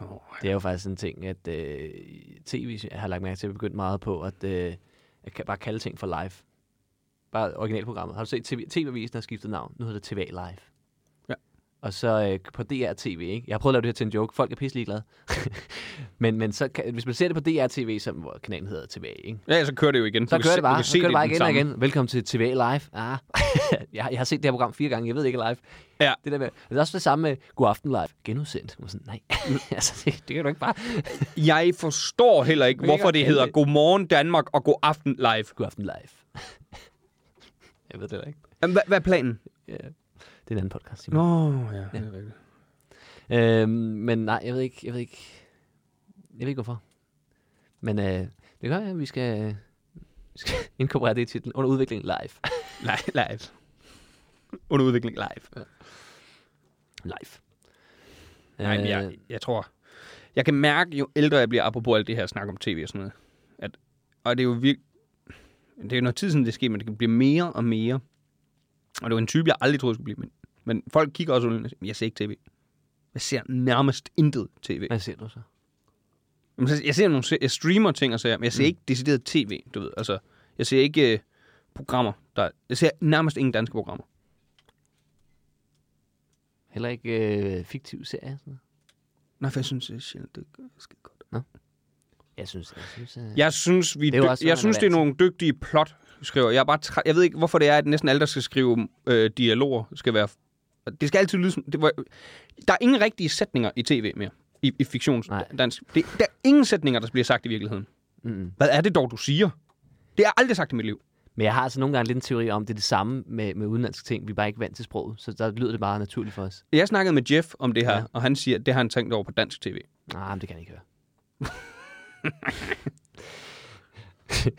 Speaker 1: Oh,
Speaker 4: Det er jo faktisk en ting, at øh, tv jeg har lagt mærke til, at vi begyndt meget på at, øh, at ka- bare kalde ting for live. Bare originalprogrammet. Har du set TV, TV-avisen har skiftet navn? Nu hedder det TVA Live.
Speaker 1: Ja.
Speaker 4: Og så øh, på DR TV, ikke? Jeg har prøvet at lave det her til en joke. Folk er pisselig glade. men, men så kan, hvis man ser det på DR TV, som hvor kanalen hedder TVA, ikke?
Speaker 1: Ja, så kører det jo igen.
Speaker 4: Så
Speaker 1: Du kan
Speaker 4: kører
Speaker 1: se- du
Speaker 4: det bare,
Speaker 1: kan
Speaker 4: så
Speaker 1: se
Speaker 4: kører det bare
Speaker 1: i den
Speaker 4: igen og
Speaker 1: samme-
Speaker 4: igen. Velkommen til TVA Live. Ah. jeg, har- jeg har set det her program fire gange, jeg ved ikke er live.
Speaker 1: Ja.
Speaker 4: Det, der med, det er også det samme med God Aften Live. Genudsendt. Man er sådan, nej, altså, det, det, kan du ikke bare.
Speaker 1: Jeg forstår heller ikke,
Speaker 4: kan ikke
Speaker 1: hvorfor det
Speaker 4: kalde
Speaker 1: hedder
Speaker 4: det-
Speaker 1: Godmorgen Danmark og God Aften Live.
Speaker 4: God Aften Live. jeg ved det heller ikke.
Speaker 1: Jamen, Hvad, hvad er planen?
Speaker 4: Ja. Det er en anden podcast, Simon.
Speaker 1: Nå, ja. Det er rigtigt.
Speaker 4: Øhm, men nej, jeg ved ikke, jeg ved ikke, jeg ved ikke hvorfor. Men øh, det gør jeg, at vi skal, vi skal inkorporere det i titlen. Under udvikling live.
Speaker 1: Li- Live. Under udvikling live.
Speaker 4: live. Øh,
Speaker 1: Nej, men jeg, jeg tror... Jeg kan mærke, jo ældre jeg bliver, apropos alt det her snak om tv og sådan noget, at, og det er jo virkelig... Det er jo noget tid siden, det sker, men det kan blive mere og mere. Og det var en type, jeg aldrig troede, skulle blive. Men, men folk kigger også ud og siger, jeg ser ikke tv. Jeg ser nærmest intet tv.
Speaker 4: Hvad ser du så?
Speaker 1: Jamen, så- Jeg ser nogle, se- jeg streamer ting og sager, men jeg ser mm. ikke decideret tv, du ved. Altså, jeg ser ikke øh, programmer. Der, jeg ser nærmest ingen danske programmer.
Speaker 4: Heller ikke øh, fiktiv serie? Sådan noget?
Speaker 1: Nej, for jeg synes, det er sjældent, det gør skide godt.
Speaker 4: Jeg synes, jeg synes øh,
Speaker 1: Jeg synes, vi
Speaker 4: Det er jo
Speaker 1: dyg-
Speaker 4: også, hvad man
Speaker 1: jeg
Speaker 4: er
Speaker 1: synes det er
Speaker 4: vant
Speaker 1: nogle dygtige plot, skriver. Jeg, er bare træ- jeg ved ikke, hvorfor det er, at næsten alle, der skal skrive øh, dialoger, skal være... Det skal altid lyde som... Det var... Der er ingen rigtige sætninger i tv mere. I, i
Speaker 4: Nej.
Speaker 1: fiktionsdansk. Det, der er ingen sætninger, der bliver sagt i virkeligheden.
Speaker 4: Mm.
Speaker 1: Hvad er det dog, du siger? Det har jeg aldrig sagt i mit liv.
Speaker 4: Men jeg har altså nogle gange lidt en teori om, det er det samme med, med udenlandske ting. Vi er bare ikke vant til sproget, så der lyder det bare naturligt for os.
Speaker 1: Jeg snakkede med Jeff om det her,
Speaker 4: Ja.
Speaker 1: ja. og han siger, at det har han tænkt over på dansk tv.
Speaker 4: Nej, men det kan jeg ikke høre.
Speaker 1: Jeg
Speaker 4: Og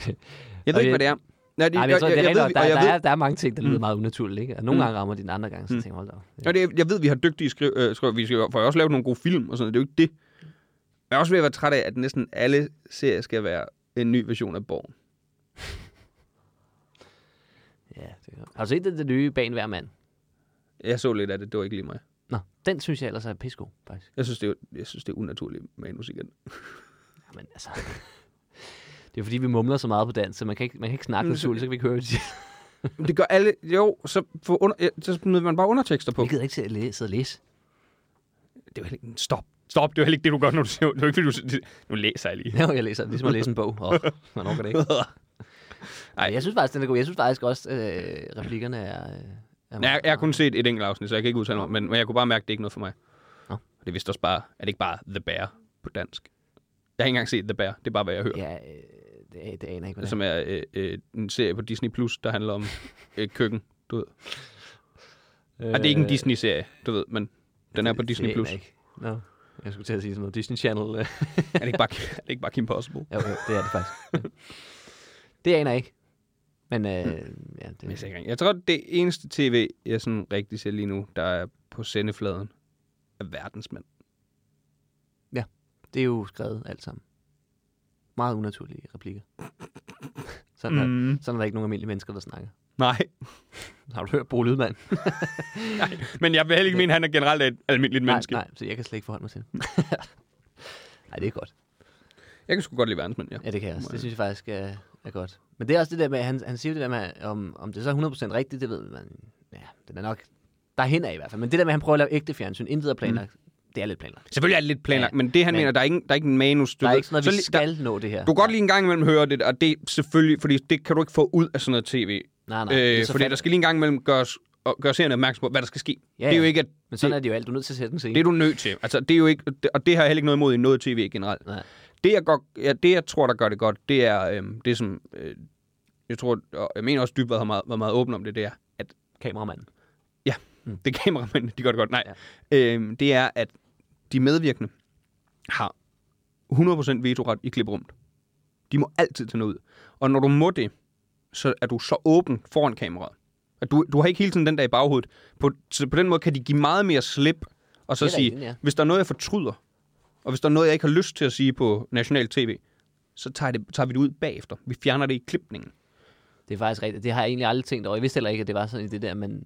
Speaker 1: ved ikke,
Speaker 4: jeg-
Speaker 1: hvad det er. Nej, det,
Speaker 4: Nej, men jeg tror, det er rigtigt nok.
Speaker 1: og
Speaker 4: Der,
Speaker 1: jeg
Speaker 4: der,
Speaker 1: ved,
Speaker 4: er, der er mange ting, der lyder
Speaker 1: Mm.
Speaker 4: meget unaturligt, ikke? Og nogle
Speaker 1: Mm.
Speaker 4: gange rammer de den andre gange, så tænker jeg, hold da op. Ja.
Speaker 1: og det, jeg ved, vi har dygtige skriv, øh, skriver, vi skal, får jo også lavet nogle gode film og sådan noget. Det er jo ikke det. Jeg er også ved at være træt af, at næsten alle serier skal være en ny version af Borg.
Speaker 4: ja det kan. Har du set det, det nye Ban hver mand?
Speaker 1: Jeg så lidt af det, det var ikke lige mig.
Speaker 4: Nå, den synes jeg ellers er pisko, faktisk.
Speaker 1: Jeg synes, det er, jeg synes, det er unaturligt manus igen.
Speaker 4: Men altså... Det er fordi, vi mumler så meget på dansk, så man kan ikke, man kan ikke snakke
Speaker 1: Mm, så-
Speaker 4: naturligt, så kan vi ikke høre, hvad de siger.
Speaker 1: Men det gør alle... Jo, så, for under, ja, så smider man bare undertekster på.
Speaker 4: Vi
Speaker 1: Det
Speaker 4: gider ikke til at læse, sidde og læse.
Speaker 1: er jo heller ikke... Stop. Stop, det er jo heller ikke det, du gør, når du siger... Det er jo ikke, fordi du... Nu læser jeg lige.
Speaker 4: Ja, jeg læser, ligesom at læse en bog. Åh, man orker det ikke. Ej. Jeg synes faktisk, den er god. Jeg synes faktisk også, øh, replikkerne er... Øh, er
Speaker 1: Jeg,
Speaker 4: meget-
Speaker 1: jeg har kun set et enkelt afsnit, så jeg kan ikke udtale mig, om, men, men jeg kunne bare mærke, at det ikke er noget for mig.
Speaker 4: Nå.
Speaker 1: Nå. Det er vist også bare, er det ikke bare The Bear på dansk? Jeg har ikke engang set The Bear, det er bare, hvad jeg hører.
Speaker 4: Ja, øh, det, det aner jeg ikke,
Speaker 1: Ja.
Speaker 4: hvad det er.
Speaker 1: Som er øh, øh, en serie på Disney+, Plus, der handler om øh, køkken, du ved.
Speaker 4: Øh,
Speaker 1: Og det er ikke en Disney-serie, du ved, men den er på
Speaker 4: det-
Speaker 1: Disney+.
Speaker 4: det
Speaker 1: Plus.
Speaker 4: aner jeg ikke. Nå, jeg skulle til at sige sådan noget Disney Channel. øh.
Speaker 1: Er det ikke bare, er det ikke bare Kim Possible?
Speaker 4: jo, jo, det er det faktisk. Ja. det aner jeg ikke. Men øh,
Speaker 1: Hmm.
Speaker 4: ja, det,
Speaker 1: Jeg, ikke. jeg tror, det eneste tv, jeg sådan rigtig ser lige nu, der er på sendefladen, er verdensmænd.
Speaker 4: det er jo skrevet alt sammen. Meget unaturlige replikker. sådan, er,
Speaker 1: Mm.
Speaker 4: sådan er der ikke nogen almindelige mennesker, der snakker.
Speaker 1: Nej,
Speaker 4: Har du hørt Bo Lydmand?
Speaker 1: men jeg vil heller ikke mene, at han er generelt et almindeligt
Speaker 4: nej,
Speaker 1: menneske.
Speaker 4: nej, så jeg kan slet ikke forholde mig til det. Nej, det er godt.
Speaker 1: Jeg kan sgu godt lide verdensmænd, ja.
Speaker 4: Ja, det kan jeg også. Det synes jeg faktisk er, er godt. Men det er også det der med, han, han siger jo det der med, om, om det så er 100% rigtigt, det ved man. Ja, det er nok derhen af i hvert fald. Men det der med, at han prøver at lave ægte fjernsyn, intet er planlagt. Mm. Det er lidt planlagt.
Speaker 1: Selvfølgelig er det lidt planlagt,
Speaker 4: Ja,
Speaker 1: men det han
Speaker 4: men-
Speaker 1: mener, der er ikke, der er ikke en manus. Du
Speaker 4: der er
Speaker 1: ved.
Speaker 4: ikke sådan noget,
Speaker 1: Så
Speaker 4: vi
Speaker 1: lige-
Speaker 4: skal
Speaker 1: Der,
Speaker 4: nå det her.
Speaker 1: du kan godt lige en gang imellem høre det, og det er selvfølgelig, fordi det kan du ikke få ud af sådan noget tv.
Speaker 4: Nej, nej. det er
Speaker 1: Øh,
Speaker 4: så
Speaker 1: fordi
Speaker 4: fat-
Speaker 1: der skal lige en gang imellem gøres, og gøre serien opmærksom på, hvad der skal ske.
Speaker 4: Ja,
Speaker 1: det er jo
Speaker 4: ja.
Speaker 1: ikke, at
Speaker 4: Men sådan er det jo alt. Du er nødt til at sætte en scene.
Speaker 1: Det er du nødt til. Altså, det er jo ikke, og det har jeg heller ikke noget imod i noget tv generelt.
Speaker 4: Nej.
Speaker 1: Det, jeg godt, ja, det, jeg tror, der gør det godt, det er øhm, det, som... Øh, jeg tror, og jeg mener også, Dybvad har meget, været meget åben om det, det er, at
Speaker 4: Kameramanden.
Speaker 1: det kameramænd, de gør det godt, nej. Ja. Øhm, det er, at de medvirkende har 100% vetoret i klipperummet. De må altid tage noget ud. Og når du må det, så er du så åben foran kameraet. At du, du har ikke hele tiden den der i baghovedet. På, så på den måde kan de give meget mere slip, og så
Speaker 4: Det er
Speaker 1: sige,
Speaker 4: rigtigt, ja.
Speaker 1: hvis der er noget, jeg fortryder, og hvis der er noget, jeg ikke har lyst til at sige på national tv, så tager, det, tager vi det ud bagefter. Vi fjerner det i klipningen.
Speaker 4: Det er faktisk rigtigt. Det har jeg egentlig aldrig tænkt over. Jeg vidste heller ikke, at det var sådan i det der, men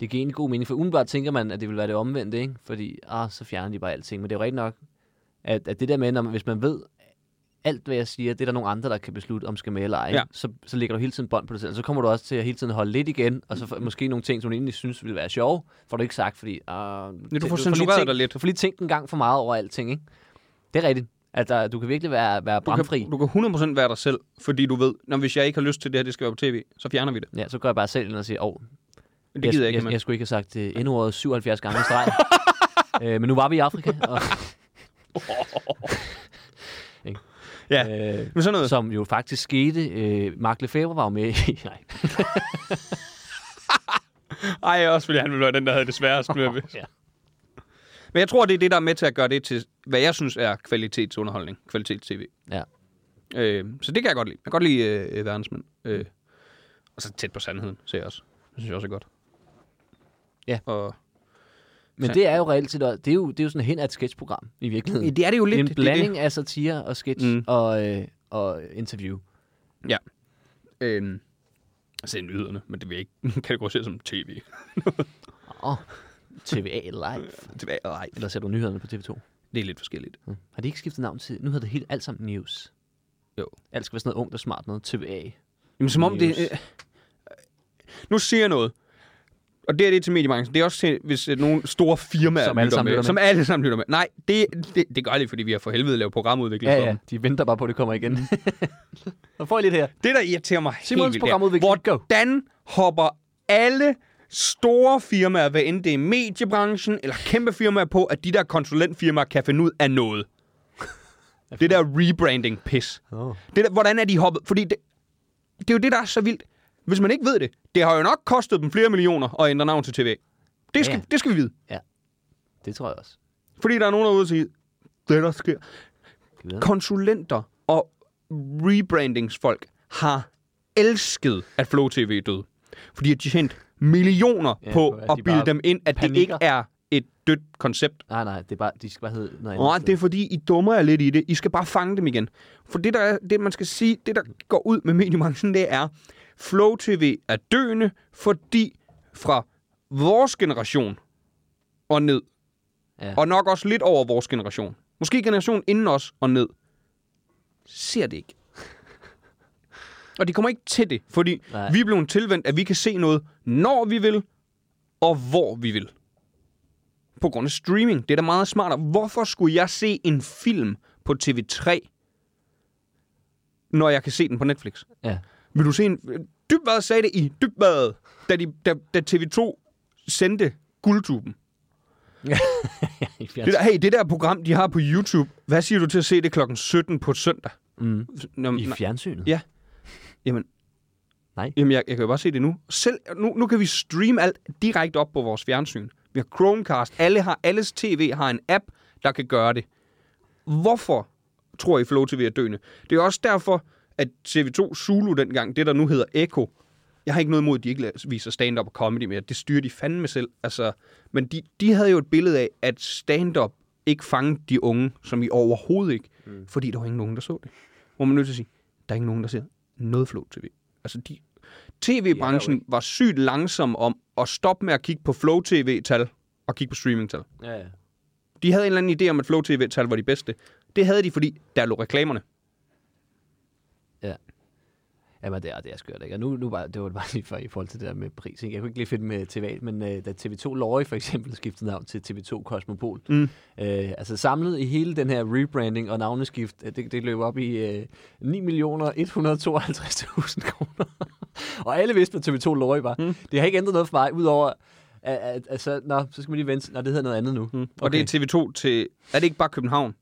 Speaker 4: det giver egentlig god mening. For umiddelbart tænker man, at det ville være det omvendte, ikke? Fordi, ah, så fjerner de bare alting. Men det er jo rigtigt nok, at, at det der med, når man, hvis man ved, alt hvad jeg siger, det er der nogle andre, der kan beslutte, om skal med eller ej,
Speaker 1: Ja.
Speaker 4: ja. så, så ligger du hele tiden bånd på dig selv. Og så kommer du også til at hele tiden holde lidt igen, og så
Speaker 1: Mm.
Speaker 4: får- måske nogle ting, som du egentlig synes ville være sjove, får du ikke sagt, fordi... ah,
Speaker 1: får
Speaker 4: du lige
Speaker 1: censureret
Speaker 4: tænkt-
Speaker 1: dig lidt.
Speaker 4: Du får lige tænkt en gang for meget over alting, ikke? Det er rigtigt. At der, du kan virkelig være, være
Speaker 1: Du
Speaker 4: bramfri.
Speaker 1: kan, du kan 100% være dig selv, fordi du ved, når hvis jeg ikke har lyst til det her, det skal være på tv, så fjerner vi det.
Speaker 4: Ja, så går jeg bare selv ind og siger, åh, oh,
Speaker 1: Men det gider jeg
Speaker 4: jeg,
Speaker 1: ikke,
Speaker 4: jeg,
Speaker 1: man.
Speaker 4: jeg skulle ikke have sagt uh, endordet 77 gange i streg. øh, men nu var vi i Afrika. Og,
Speaker 1: Ja,
Speaker 4: øh,
Speaker 1: men sådan noget.
Speaker 4: som jo faktisk skete. Øh, Mark Lefebvre var jo med i... Nej.
Speaker 1: Ej, også fordi han ville være den, der havde det sværest med det.
Speaker 4: Ja.
Speaker 1: Men jeg tror, det er det, der er med til at gøre det til, hvad jeg synes er kvalitetsunderholdning. Kvalitets-tv.
Speaker 4: Ja.
Speaker 1: Øh, så det kan jeg godt lide. Jeg kan godt lide øh, verdensmænd. Øh, og så tæt på sandheden, ser jeg også. Det synes jeg også er godt.
Speaker 4: Ja.
Speaker 1: Og,
Speaker 4: Men det er jo reelt set... også- Det er jo, det er jo sådan hen af et sketchprogram, i virkeligheden.
Speaker 1: det er det jo lidt.
Speaker 4: en blanding af satire og sketch
Speaker 1: Mm.
Speaker 4: mm. og, øh, og interview.
Speaker 1: Det, er det. Øh, altså nyhederne, men det vil jeg ikke kategorisere som tv.
Speaker 4: Og TVA Live.
Speaker 1: Tilbage, nej,
Speaker 4: Eller ser du nyhederne på TV2?
Speaker 1: det er lidt forskelligt.
Speaker 4: Mm. Har de ikke skiftet navn til... Nu hedder det helt alt sammen News.
Speaker 1: Jo.
Speaker 4: Alt skal være sådan noget ungt og smart noget. TVA.
Speaker 1: Jamen, som om det...
Speaker 4: News.
Speaker 1: Øh, nu siger jeg noget. Og det er det til mediebranchen. Det er også til, hvis øh, nogle store firmaer
Speaker 4: Som alle sammen lytter med.
Speaker 1: Som alle sammen lytter med. Nej, det, det, det gør det, fordi vi har for helvede lavet programudvikling for
Speaker 4: Ja,
Speaker 1: dem.
Speaker 4: ja. De venter bare på, at det kommer igen.
Speaker 1: Mm.
Speaker 4: Så får I lidt her.
Speaker 1: Det, der irriterer mig
Speaker 4: Simons
Speaker 1: helt vildt,
Speaker 4: programudvikling.
Speaker 1: er,
Speaker 4: Go.
Speaker 1: hvordan hopper alle store firmaer, hvad end det er mediebranchen eller kæmpe firmaer på, at de der konsulentfirmaer kan finde ud af noget. Det der rebranding-pis.
Speaker 4: Nå.
Speaker 1: Det der, hvordan er de hoppet? Fordi det, det er jo det, der er så vildt. Hvis man ikke ved det, det har jo nok kostet dem flere millioner at ændre navn til TV. Det skal,
Speaker 4: Ja.
Speaker 1: ja. det skal vi vide.
Speaker 4: Det tror jeg også.
Speaker 1: Fordi der er nogen, der er ude og sige, det der sker.
Speaker 4: Kan vi vide?
Speaker 1: Konsulenter og rebrandingsfolk har elsket, at Flow TV er død. Fordi de har tjent millioner
Speaker 4: Ja,
Speaker 1: ja, på
Speaker 4: på, at
Speaker 1: at
Speaker 4: de
Speaker 1: bilde
Speaker 4: bare
Speaker 1: dem ind, at det
Speaker 4: panikker.
Speaker 1: ikke er et dødt koncept.
Speaker 4: Nej, nej, det er bare, de skal bare hedde noget andet.
Speaker 1: Nej, det er fordi, I dummer jer lidt i det. I skal bare fange dem igen. For det, der er, det man skal sige, det der går ud med mediebranchen, det er, Flow TV er døende, fordi fra vores generation og ned,
Speaker 4: Ja.
Speaker 1: og nok også lidt over vores generation, måske generationen inden os og ned, ser det ikke. Og de kommer ikke til det, fordi
Speaker 4: Nej.
Speaker 1: Nej. vi er blevet tilvendt, at vi kan se noget, når vi vil, og hvor vi vil. På grund af streaming. Det er da meget smartere. Hvorfor skulle jeg se en film på TV3, når jeg kan se den på Netflix?
Speaker 4: Ja.
Speaker 1: Vil du se en... øh, Dybvad sagde det i Dybvad, da, de, da, da TV2 sendte guldtuben. Det der, hey, det der program, de har på YouTube, hvad siger du til at se det klokken 17 på søndag?
Speaker 4: Mm.
Speaker 1: Nå,
Speaker 4: I
Speaker 1: nej,
Speaker 4: fjernsynet?
Speaker 1: Ja. jamen,
Speaker 4: Nej.
Speaker 1: Jamen, jeg, jeg kan jo bare se det nu. Selv, nu. Nu kan vi streame alt direkte op på vores fjernsyn. Vi har Chromecast. Alle har, alles tv har en app, der kan gøre det. Hvorfor tror I Flow TV er døende? Det er også derfor, at TV2 Zulu dengang, det der nu hedder Echo, jeg har ikke noget imod, at de ikke lader- viser stand-up og comedy mere. Det styrer de fandme selv. Altså, men de, de havde jo et billede af, at stand-up ikke fangede de unge, som i overhovedet ikke. Mm. Fordi der var ingen nogen, der så det. Hvor man er nødt til at sige, der er ikke nogen, der ser noget Flow TV. Altså, de,
Speaker 4: Ja,
Speaker 1: TV-branchen var sygt langsom om at stoppe med at kigge på Flow TV-tal og kigge på streaming-tal.
Speaker 4: Ja, ja.
Speaker 1: De havde en eller anden idé om, at Flow TV-tal var de bedste. Det havde de, fordi der lå reklamerne.
Speaker 4: Jamen, det er, det er skørt, ikke? Og nu, nu var, det var bare lige for, i forhold til det der med pris, ikke? Jeg kunne ikke lige finde med TV, men øh, da TV2 Lorry for eksempel skiftede navn til TV2 Cosmopol, mm. øh, altså samlet i hele den her rebranding og navneskift, øh, det, det løb op i øh, 9 kroner. og alle vidste, hvad TV2 Lorry var. Mm. Det har ikke ændret noget for mig, udover at, at, at, så, nå, så skal man lige vente. Nå, det hedder noget andet nu. Mm.
Speaker 1: Og det er TV2 til... Er det ikke bare København?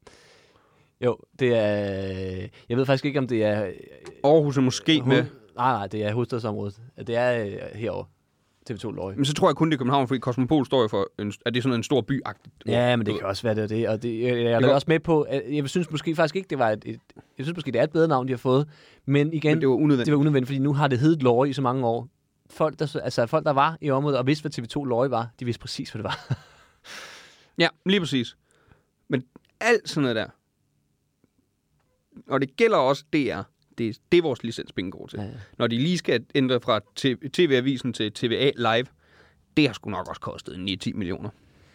Speaker 4: Jo, det er... Jeg ved faktisk ikke, om det er... øh,
Speaker 1: Aarhus er måske med.
Speaker 4: Nej, nej, det er hovedstadsområdet. Det er øh, herovre. TV2 Løje.
Speaker 1: Men så tror jeg kun, det er København, fordi Kosmopol står jo for... En, er det sådan en stor by -agtigt?
Speaker 4: Ja, men det kan også være det, og det, og det jeg, jeg, jeg
Speaker 1: kan-
Speaker 4: er også med på, at jeg synes måske faktisk ikke, det var et, et, jeg synes måske, det er et bedre navn, de har fået, men igen,
Speaker 1: Men det var unødvendigt.
Speaker 4: det var unødvendigt, fordi nu har det heddet Lorry i så mange år. Folk der, så- altså, folk, der var i området og vidste, hvad TV2 Lorry var, de vidste præcis, hvad det var.
Speaker 1: Ja, lige præcis. Men alt sådan noget der. Og det gælder også DR. Det, det er vores licenspenge går til.
Speaker 4: Ja,
Speaker 1: Ja,
Speaker 4: ja.
Speaker 1: ja. Når de lige skal ændre fra T- TV-avisen til TVA Live, det har sgu nok også kostet 9-10 millioner.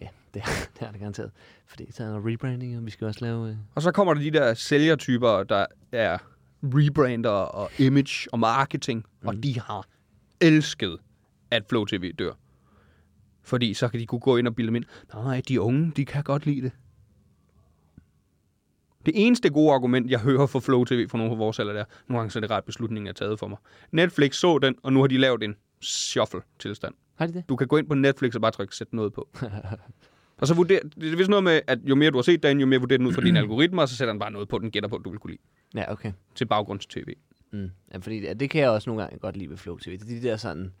Speaker 4: ja, det, er- det er det garanteret. Fordi så er der rebranding, og vi skal også lave... Øh,
Speaker 1: Og så kommer der de der sælgertyper, der er rebrander og image og marketing, mm. og de har elsket, at Flow TV dør. Fordi så kan de kunne gå ind og bilde dem ind. Nej, de unge, de kan godt lide det. Det eneste gode argument, jeg hører fra Flow TV fra nogle af vores alder, der, nogle gange så er det ret beslutningen, jeg har taget for mig. Netflix så den, og nu har de lavet en shuffle-tilstand.
Speaker 4: har de det?
Speaker 1: Du kan gå ind på Netflix og bare trykke sæt noget på. og så vurderer, det er vist noget med, at jo mere du har set den, jo mere vurderer den ud fra dine algoritmer, og så sætter den bare noget på, den gætter på, at du vil kunne lide
Speaker 4: Ja, okay.
Speaker 1: til baggrunds-tv.
Speaker 4: Mm. Ja, fordi det, det kan jeg også nogle gange godt lide ved Flow TV. Det er de der sådan,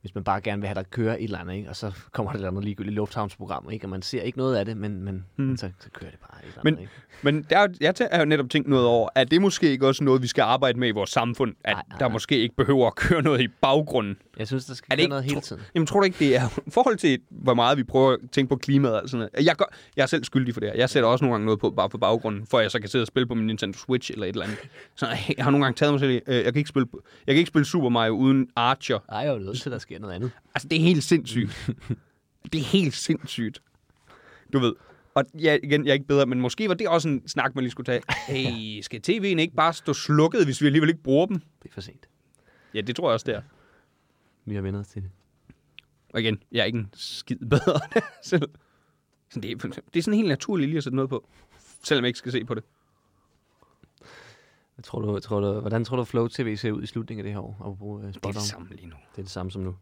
Speaker 4: hvis man bare gerne vil have dig køre et eller andet, ikke? og så kommer der et eller andet ligegyldigt lufthavnsprogram, ikke? og man ser ikke noget af det, men, men, mm. men så, så kører det bare et eller andet.
Speaker 1: Men,
Speaker 4: ikke?
Speaker 1: men der, er- jeg tæ- har jo netop tænkt noget over, at det måske ikke også noget, vi skal arbejde med i vores samfund, at
Speaker 4: Nej, nej,
Speaker 1: der
Speaker 4: nej.
Speaker 1: måske ikke behøver at køre noget i baggrunden.
Speaker 4: Jeg synes, der skal
Speaker 1: Er det
Speaker 4: være
Speaker 1: ikke
Speaker 4: noget hele tiden.
Speaker 1: Jamen, tror du ikke, det er i forhold til, hvor meget vi prøver at tænke på klimaet og sådan noget? Jeg, gør, jeg er selv skyldig for det her. Jeg sætter også nogle gange noget på, bare for baggrunden, for jeg så kan sidde og spille på min Nintendo Switch eller et eller andet. Så jeg har nogle gange taget mig selv i, øh, jeg kan ikke spille, jeg kan ikke spille Super Mario uden Archer.
Speaker 4: Ej, jeg er jo nødt til, at der sker noget andet.
Speaker 1: Altså, det er helt sindssygt. det er helt sindssygt. Du ved. Og ja, igen, jeg er ikke bedre, men måske var det også en snak, man lige skulle tage. Hey, skal tv'en ikke bare stå slukket, hvis vi alligevel ikke bruger dem?
Speaker 4: Det er for sent.
Speaker 1: Ja, det tror jeg også, det er.
Speaker 4: Vi har vendt os til det.
Speaker 1: Og igen, jeg er ikke en skid bedre selv. Så det, er, det er sådan helt naturligt lige at sætte noget på, selvom jeg ikke skal se på det.
Speaker 4: Hvad tror du, tror du, hvordan tror du, Flow TV ser ud i slutningen af det her år? Og bruge uh,
Speaker 1: Det er det
Speaker 4: det,
Speaker 1: samme lige nu.
Speaker 4: det er det samme som nu.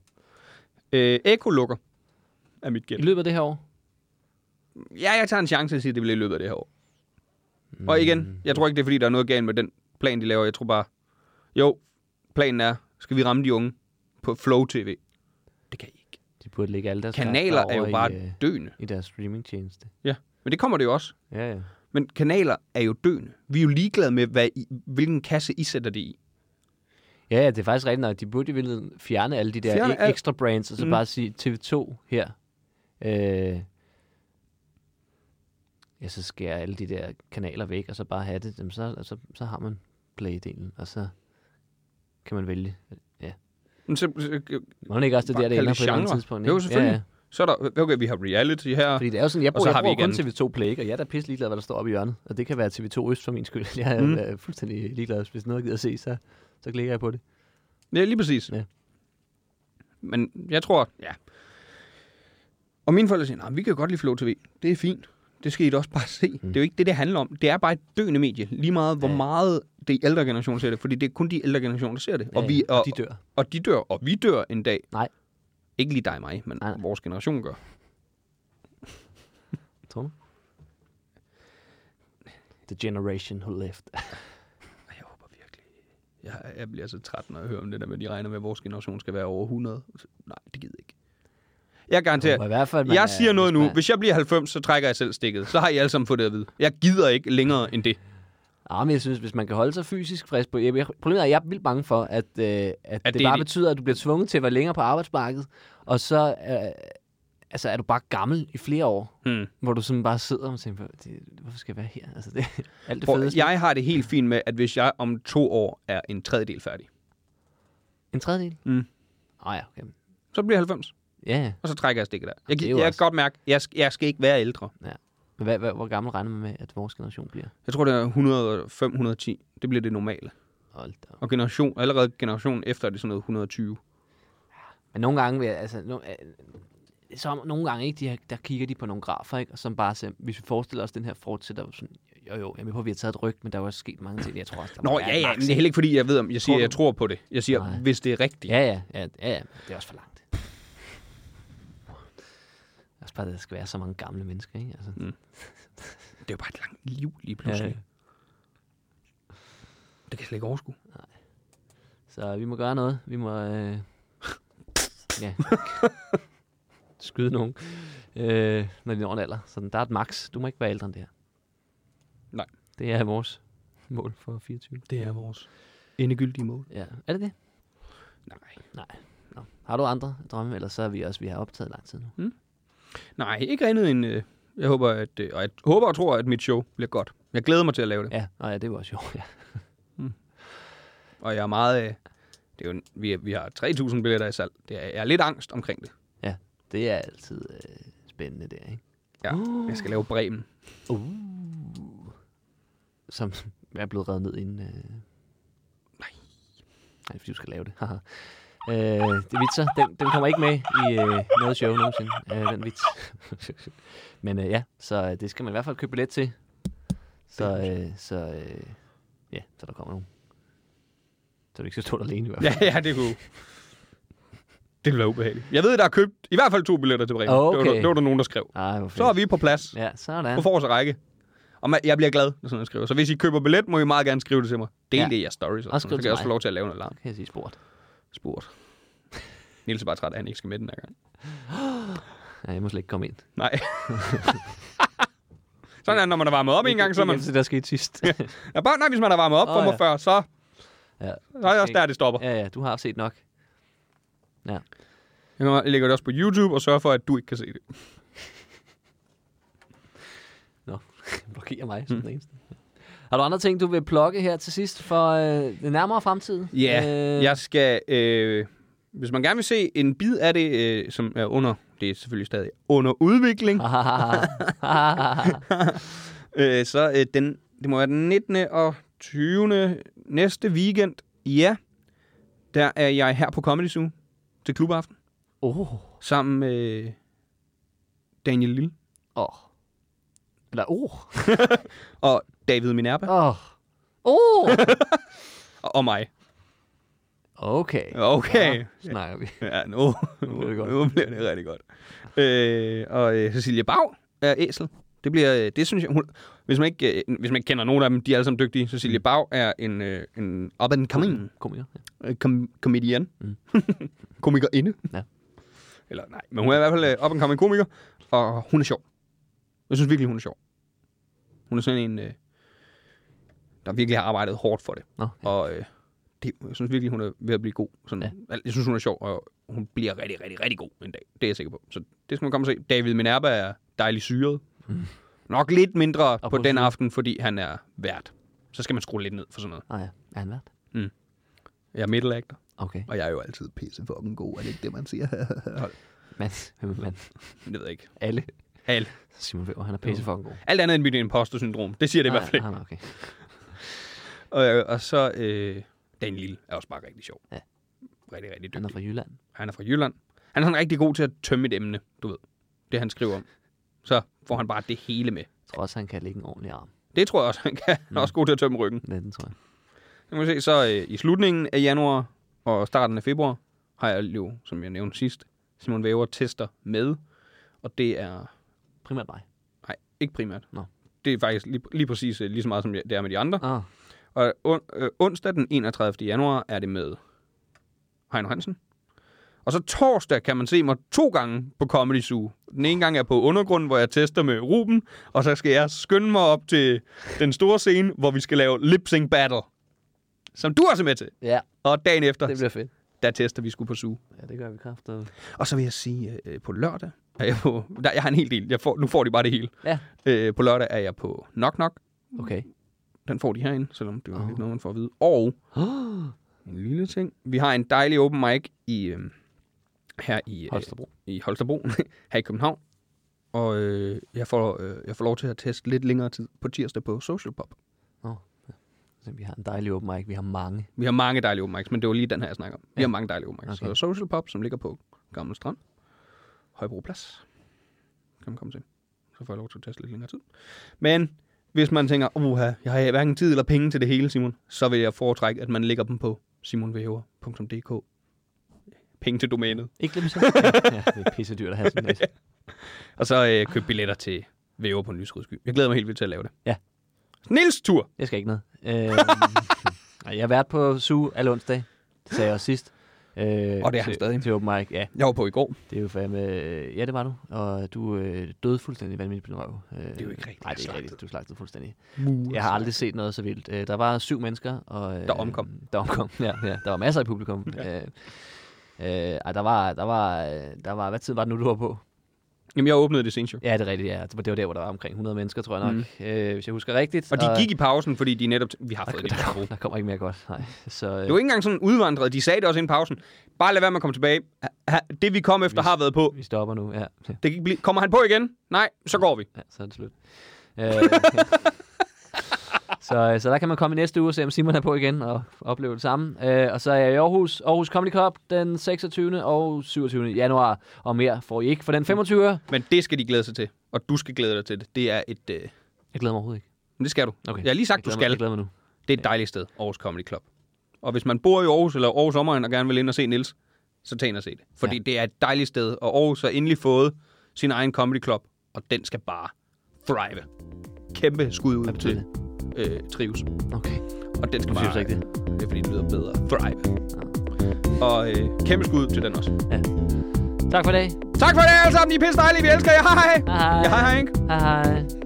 Speaker 1: Øh, Eko lukker, er mit
Speaker 4: I
Speaker 1: gæt.
Speaker 4: løbet af det her år?
Speaker 1: Ja, jeg tager en chance og siger, at det bliver i løbet af det her år. Mm. Og igen, jeg tror ikke, det er fordi, der er noget galt med den plan, de laver. Jeg tror bare, jo, planen er, skal vi ramme de unge på Flow TV? Det kan I ikke.
Speaker 4: De burde lægge alle deres
Speaker 1: Kanaler
Speaker 4: kræfter
Speaker 1: er jo
Speaker 4: over
Speaker 1: bare
Speaker 4: i, øh,
Speaker 1: døende.
Speaker 4: i deres streamingtjeneste.
Speaker 1: Ja, men det kommer det jo også.
Speaker 4: Ja, ja.
Speaker 1: Men kanaler er jo døende. Vi er jo ligeglade med, hvad I, hvilken kasse I sætter det i.
Speaker 4: Ja, ja, det er faktisk rigtigt nok. De burde i virkeligheden fjerne alle de der
Speaker 1: Fjerne
Speaker 4: e-
Speaker 1: al-
Speaker 4: ekstra brands, og så
Speaker 1: Mm.
Speaker 4: mm. bare sige TV2 her. Øh, ja, så skærer alle de der kanaler væk, og så bare have det. Jamen, så, så, så har man play-delen, og så kan man vælge.
Speaker 1: Men så, så,
Speaker 4: Må man ikke også det
Speaker 1: Bare
Speaker 4: der, der
Speaker 1: kalde
Speaker 4: ender
Speaker 1: det
Speaker 4: på et eller andet
Speaker 1: genre.
Speaker 4: tidspunkt?
Speaker 1: Jo,
Speaker 4: ikke?
Speaker 1: selvfølgelig.
Speaker 4: Ja, ja.
Speaker 1: så er der, okay, vi har reality her.
Speaker 4: Fordi det er jo sådan, jeg
Speaker 1: Og
Speaker 4: bruger,
Speaker 1: så
Speaker 4: jeg
Speaker 1: har vi
Speaker 4: bruger kun TV2 Play, ikke? og jeg er da pisse ligeglad, hvad der står oppe i hjørnet. Og det kan være TV2 Øst for min skyld. Jeg er
Speaker 1: Mm.
Speaker 4: mm. fuldstændig ligeglad. Hvis noget jeg gider at se, så, så klikker jeg på det.
Speaker 1: Ja, lige præcis.
Speaker 4: Ja.
Speaker 1: Men jeg tror, ja. Og mine forældre siger, nej, vi kan jo godt lide Flow TV. Det er fint. Det skal I da også bare se. Mm. Det er jo ikke det, det handler om. Det er bare et døende medie. Lige meget, hvor
Speaker 4: Ja.
Speaker 1: ja. meget det ældre generation ser det. Fordi det er kun de ældre generationer, der ser det.
Speaker 4: Ja,
Speaker 1: og, vi,
Speaker 4: ja, og de dør.
Speaker 1: Og de dør, og vi dør en dag.
Speaker 4: Nej.
Speaker 1: Ikke lige dig og mig, men
Speaker 4: Nej, nej.
Speaker 1: vores generation gør.
Speaker 4: Tror du? The generation who left.
Speaker 1: Jeg håber virkelig Jeg, jeg bliver så træt, når jeg hører om det der med, at de regner med, at vores generation skal være over 100. Så, nej, det gider jeg ikke. Jeg garanterer,
Speaker 4: Håber i hvert fald, man er-
Speaker 1: jeg siger noget nu.
Speaker 4: man-
Speaker 1: Hvis jeg bliver 90, så trækker jeg selv stikket. Så har I alle sammen fået det at vide. Jeg gider ikke længere end det.
Speaker 4: Ah, men jeg synes, hvis man kan holde sig fysisk frisk på... Jeg, jeg- problemet er, at jeg er vildt bange for, at, øh, at, at det,
Speaker 1: det
Speaker 4: det
Speaker 1: er
Speaker 4: bare
Speaker 1: det-
Speaker 4: betyder, at du bliver tvunget til at være længere på arbejdsmarkedet, og så øh, altså, er du bare gammel i flere år,
Speaker 1: Hmm.
Speaker 4: hvor du sådan bare sidder og tænker, "Hvor- det, hvorfor skal jeg være her? Altså, det, alt det
Speaker 1: Prøv,
Speaker 4: fedeste.
Speaker 1: jeg har det helt fint med, at hvis jeg om to år er en tredjedel færdig,
Speaker 4: En tredjedel?
Speaker 1: Mm.
Speaker 4: Ah, ja, okay.
Speaker 1: så bliver jeg 90,
Speaker 4: Ja, ja.
Speaker 1: og så trækker jeg stikket der. Jeg,
Speaker 4: Det er
Speaker 1: gi-
Speaker 4: jo
Speaker 1: jeg kan
Speaker 4: også-
Speaker 1: godt mærke, jeg, sk- jeg skal ikke være ældre.
Speaker 4: Men Hvad, hvad, hvor gammel regner man med, at vores generation bliver?
Speaker 1: Jeg tror, det er 105, 110. Det bliver det normale.
Speaker 4: Hold da. op.
Speaker 1: Og generation, allerede generationen efter er det sådan noget 120.
Speaker 4: Men nogle gange, vil jeg- altså, no, øh, så nogle gange, ikke, de her, der kigger de på nogle grafer, ikke, og som bare siger, hvis vi forestiller os, den her fortsætter, sådan, jo jo, jeg er med på, at vi har taget et ryg, men der er jo også sket mange ting, jeg tror også, der må
Speaker 1: Nå,
Speaker 4: være
Speaker 1: ja,
Speaker 4: et
Speaker 1: ja,
Speaker 4: maks,
Speaker 1: men det er
Speaker 4: ikke?
Speaker 1: heller ikke, fordi jeg ved, om jeg siger,
Speaker 4: Tror
Speaker 1: at jeg tror på det. Jeg siger,
Speaker 4: Nej.
Speaker 1: hvis det er rigtigt.
Speaker 4: Ja, ja, ja, ja, ja, det er også for langt. Det er også bare, at der skal være så mange gamle mennesker, ikke? Altså,
Speaker 1: Mm. Det er jo bare et langt liv lige
Speaker 4: ja,
Speaker 1: pludselig. Ja. Det kan jeg slet ikke overskue.
Speaker 4: så vi må gøre noget. Vi må... Øh, ja. Skyde nogen, øh, når de når en alder. Så der er et max. Du må ikke være ældre end det her.
Speaker 1: Nej.
Speaker 4: Det er vores mål for 24.
Speaker 1: Det er vores endegyldige mål.
Speaker 4: Ja. Er det det?
Speaker 1: Nej.
Speaker 4: Nå. Har du andre drømme, eller så er vi også, vi har optaget lang tid nu.
Speaker 1: Nej, ikke andet end... Øh, jeg håber, at, øh, og jeg håber og tror, at mit show bliver godt. Jeg glæder mig til at lave det.
Speaker 4: Ja, Nå, ja det var også jo. Ja.
Speaker 1: Og jeg er meget... Øh, det er jo, en- vi, er, vi har 3.000 billetter i salg. Det er, jeg er lidt angst omkring det.
Speaker 4: Det er altid øh, spændende der, ikke?
Speaker 1: Ja, jeg skal lave Bremen.
Speaker 4: Som er blevet reddet ned inden... Øh... Nej. Nej, fordi du skal lave det. Haha. øh, det er vitser. Den, den kommer ikke med i øh, noget show nogensinde. Øh, den vits. Men øh, ja, så øh, det skal man i hvert fald købe billet til. Så, øh, så øh, ja, så der kommer nogen. Så du ikke skal stå der alene i hvert fald.
Speaker 1: Ja, ja, det kunne... Det bliver ubehageligt. Jeg ved, der er købt i hvert fald to billetter til Bremen. Det, var,
Speaker 4: Okay.
Speaker 1: der- det var der nogen, der skrev.
Speaker 4: Ej, hvor fedt.
Speaker 1: Så er vi på plads.
Speaker 4: Ja, sådan.
Speaker 1: på forreste række. Og man, jeg bliver glad, når sådan noget skriver. Så hvis I køber billet, må I meget gerne skrive det til mig. Del
Speaker 4: Ja.
Speaker 1: ja. det i jeres stories. Og
Speaker 4: Og
Speaker 1: sådan.
Speaker 4: skriv
Speaker 1: noget. så
Speaker 4: til
Speaker 1: kan jeg også
Speaker 4: mig.
Speaker 1: få lov til at lave noget larm.
Speaker 4: Kan jeg sige sport.
Speaker 1: Spurgt. Niels er bare træt, af, at han ikke skal med den her gang.
Speaker 4: Ja, jeg må slet ikke komme ind.
Speaker 1: Nej. sådan er det, når man er varmet op en gang, så er man...
Speaker 4: Det, der skete sidst.
Speaker 1: Ja, bare, nej, hvis man er varmet op
Speaker 4: Åh,
Speaker 1: for mig
Speaker 4: ja.
Speaker 1: før, så,
Speaker 4: ja.
Speaker 1: så er det også der, det stopper.
Speaker 4: Ja, ja, du har set nok.
Speaker 1: Jeg lægger det også på YouTube og sørger for, at du ikke kan se det.
Speaker 4: Nå, blokerer mig
Speaker 1: Hmm.
Speaker 4: som mm. den eneste. Har du andre ting, du vil plukke her til sidst for øh, den nærmere fremtid?
Speaker 1: Ja, øh... jeg skal... Øh, hvis man gerne vil se en bid af det, øh, som er under... Det er selvfølgelig stadig under udvikling. Øh, så øh, den, det må være den 19. og 20. næste weekend. Ja, der er jeg her på Comedy Zoo til klubaften
Speaker 4: Åh,
Speaker 1: sammen med Daniel Lille
Speaker 4: åh. Eller åh.
Speaker 1: og David Minerva
Speaker 4: Åh. Åh.
Speaker 1: og, og mig.
Speaker 4: Okay.
Speaker 1: Okay.
Speaker 4: Så snakker vi.
Speaker 1: Ja, nu,
Speaker 4: Nu bliver det godt.
Speaker 1: nu bliver det rigtig godt. Øh, og øh, Cecilia Bag er æsel. Det bliver, øh, det synes jeg, hun, hvis, man ikke, øh, hvis man ikke kender nogen af dem, de er alle sammen dygtige. Cecilia
Speaker 4: Mm.
Speaker 1: Bag er en, øh, en up-and-coming
Speaker 4: Kom her. Ja.
Speaker 1: Øh, kom- komedian.
Speaker 4: Mm.
Speaker 1: Mm. Komikerinde.
Speaker 4: Ja.
Speaker 1: Eller nej, men hun er i hvert fald øh, op og en komiker, og hun er sjov. Jeg synes virkelig, hun er sjov. Hun er sådan en, øh, der virkelig har arbejdet hårdt for det.
Speaker 4: Nå, ja.
Speaker 1: Og øh, det, jeg synes virkelig, hun er ved at blive god. Sådan,
Speaker 4: Ja.
Speaker 1: ja. Jeg synes, hun er sjov, og hun bliver rigtig, rigtig, rigtig god en dag. Det er jeg sikker på. Så det skal man komme og se. David Minerva er dejlig syret.
Speaker 4: Mm.
Speaker 1: Nok lidt mindre på
Speaker 4: på
Speaker 1: den
Speaker 4: syret.
Speaker 1: aften, fordi han er vært. Så skal man skrue lidt ned for sådan noget.
Speaker 4: Ah, ja. Er han vært?
Speaker 1: Jeg er middle actor.
Speaker 4: Okay.
Speaker 1: Og jeg er jo altid pisse fucking god, er det ikke det, man siger? Hold,
Speaker 4: Men, men
Speaker 1: det ved jeg ikke.
Speaker 4: alle.
Speaker 1: Alt,
Speaker 4: Simon Weber, han er pisse fucking god.
Speaker 1: alt andet end mit imposter-syndrom. Det siger det i hvert fald ikke.
Speaker 4: Ah, okay.
Speaker 1: Og, øh, og så, øh, Dan Lille er også bare rigtig sjov.
Speaker 4: Ja.
Speaker 1: Rigtig, rigtig
Speaker 4: Han er
Speaker 1: dygtig.
Speaker 4: fra Jylland.
Speaker 1: Han er fra Jylland. Han er sådan rigtig god til at tømme et emne, du ved. Det, han skriver om. Så får han bare det hele med.
Speaker 4: Jeg tror også, han kan lægge en ordentlig arm.
Speaker 1: Det tror jeg også, han kan. Han er også god til at tømme ryggen.
Speaker 4: Ja, den tror jeg.
Speaker 1: Nu må vi se, så øh, i slutningen af januar og starten af februar har jeg jo, som jeg nævnte sidst, Simon Væver tester med. Og det er
Speaker 4: Primært mig.
Speaker 1: Nej, ikke primært.
Speaker 4: Nå.
Speaker 1: Det er faktisk lige, lige præcis øh, lige så meget, som jeg- det er med de andre.
Speaker 4: Ah,
Speaker 1: Og on, øh, onsdag den 31. januar er det med Heino Hansen. Og så torsdag kan man se mig to gange på Comedy Zoo. Den ene gang er på undergrunden, hvor jeg tester med Ruben, og så skal jeg skynde mig op til den store scene, hvor vi skal lave lip sync battle. Som du også er med til.
Speaker 4: Ja,
Speaker 1: Og dagen efter,
Speaker 4: det bliver fedt.
Speaker 1: der tester vi skulle på Zoo.
Speaker 4: Ja, det gør vi kraftigt.
Speaker 1: Og så vil jeg sige, øh, på lørdag er jeg på... Der, jeg har en hel del. Jeg får, nu får de bare det hele.
Speaker 4: Ja.
Speaker 1: Øh, på lørdag er jeg på Knock Knock.
Speaker 4: Okay.
Speaker 1: Den får de herinde, selvom det var oh.
Speaker 4: Åh.
Speaker 1: ikke noget, man får at vide. Og en lille ting. Vi har en dejlig open mic i, øh, her i, øh,
Speaker 4: Holstebro.
Speaker 1: i Holstebro, her i København. Og øh, jeg, får, øh, jeg får lov til at teste lidt længere tid på tirsdag på Social Pop.
Speaker 4: Så Vi har en dejlig åben mic. Vi har mange.
Speaker 1: Vi har mange dejlige open mics, men det var lige den her, jeg snakker om. Vi har mange dejlige open mics.
Speaker 4: Okay.
Speaker 1: Så Social Pop, som ligger på Gamle Strand, Højbro Plads, kan man komme til. Så får jeg lov til at teste lidt længere tid. Men hvis man tænker, uha, jeg har hverken tid eller penge til det hele, Simon, så vil jeg foretrække, at man lægger dem på simonvæver.dk. Penge til domænet.
Speaker 4: Ikke glem så. ja, det er pisse dyrt at have sådan en masse.
Speaker 1: Og så øh, køb billetter til Væver på en lysrød sky. Jeg glæder mig helt vildt til at lave det.
Speaker 4: Ja.
Speaker 1: Nils tur!
Speaker 4: Jeg skal ikke noget. Øhm, nej, jeg har været på SU alle onsdag. Det sagde jeg også sidst. Øh,
Speaker 1: Og det er han
Speaker 4: til,
Speaker 1: stadig.
Speaker 4: Til open mic, ja.
Speaker 1: Jeg var på i går.
Speaker 4: Det er jo fandme... Ja, det var du. Og du øh, døde fuldstændig vanvittigt på din røv. Øh, det
Speaker 1: er jo ikke rigtigt,
Speaker 4: Nej, det er
Speaker 1: jeg
Speaker 4: ikke
Speaker 1: slagtede.
Speaker 4: rigtigt. Du slagtede fuldstændig. Jeg har aldrig set noget så vildt. Øh, der var syv mennesker. Og, øh,
Speaker 1: Der omkom.
Speaker 4: Der omkom, ja. ja. Der var masser i publikum. ja. øh, øh, ej, der var, der var, øh, der var, hvad tid var det nu, du var på?
Speaker 1: Jamen, jeg åbnede det senest jo.
Speaker 4: Ja, det er rigtigt, ja. Det var, det var der, hvor der var omkring 100 mennesker, tror jeg nok, mm. øh, hvis jeg husker rigtigt.
Speaker 1: Og de gik i pausen, fordi de netop... Vi har fået det. vi har brug
Speaker 4: Der kommer ikke mere godt, nej. Så, øh,
Speaker 1: Det var ikke engang sådan udvandret. De sagde det også inden pausen. Bare lad være med at komme tilbage. Ha- ha- Det vi kom efter har været på.
Speaker 4: vi stopper nu, ja. ja.
Speaker 1: Det kan ikke blive. Kommer han på igen? Nej, så går vi.
Speaker 4: Ja, så er det slut. Øh, så, så der kan man komme i næste uge og se, om Simon er på igen og opleve det samme. Øh, og så er jeg i Aarhus, Aarhus Comedy Cup den 26. og 27. januar. Og mere får I ikke for den 25. Jeg
Speaker 1: Men det skal de glæde sig til. Og du skal glæde dig til det. Det er et... Øh...
Speaker 4: glæder mig overhovedet ikke.
Speaker 1: Men det skal du.
Speaker 4: Okay.
Speaker 1: Jeg har lige sagt, du
Speaker 4: jeg glæder mig- Jeg
Speaker 1: skal.
Speaker 4: glæder mig nu.
Speaker 1: Det er et dejligt sted. Aarhus Comedy Club. Og hvis man bor i Aarhus eller Aarhus Omegn og gerne vil ind og se Nils, så tag ind og se det. Fordi
Speaker 4: Ja.
Speaker 1: det er et dejligt sted. Og Aarhus har endelig fået sin egen comedy club. Og den skal bare thrive. Kæmpe skud ud
Speaker 4: Hvad betyder
Speaker 1: til øh, Trives.
Speaker 4: Okay,
Speaker 1: Og den skal
Speaker 4: du synes
Speaker 1: bare...
Speaker 4: ikke det.
Speaker 1: Det er fordi, det lyder bedre. Thrive. Og øh, kæmpe skud til den også.
Speaker 4: Tak for i dag.
Speaker 1: Tak for det alle sammen. I er pisse dejlige. Vi elsker jer. Hej hej.
Speaker 4: Hej hej.
Speaker 1: Ja, hej hej. Ikke?
Speaker 4: Hej hej.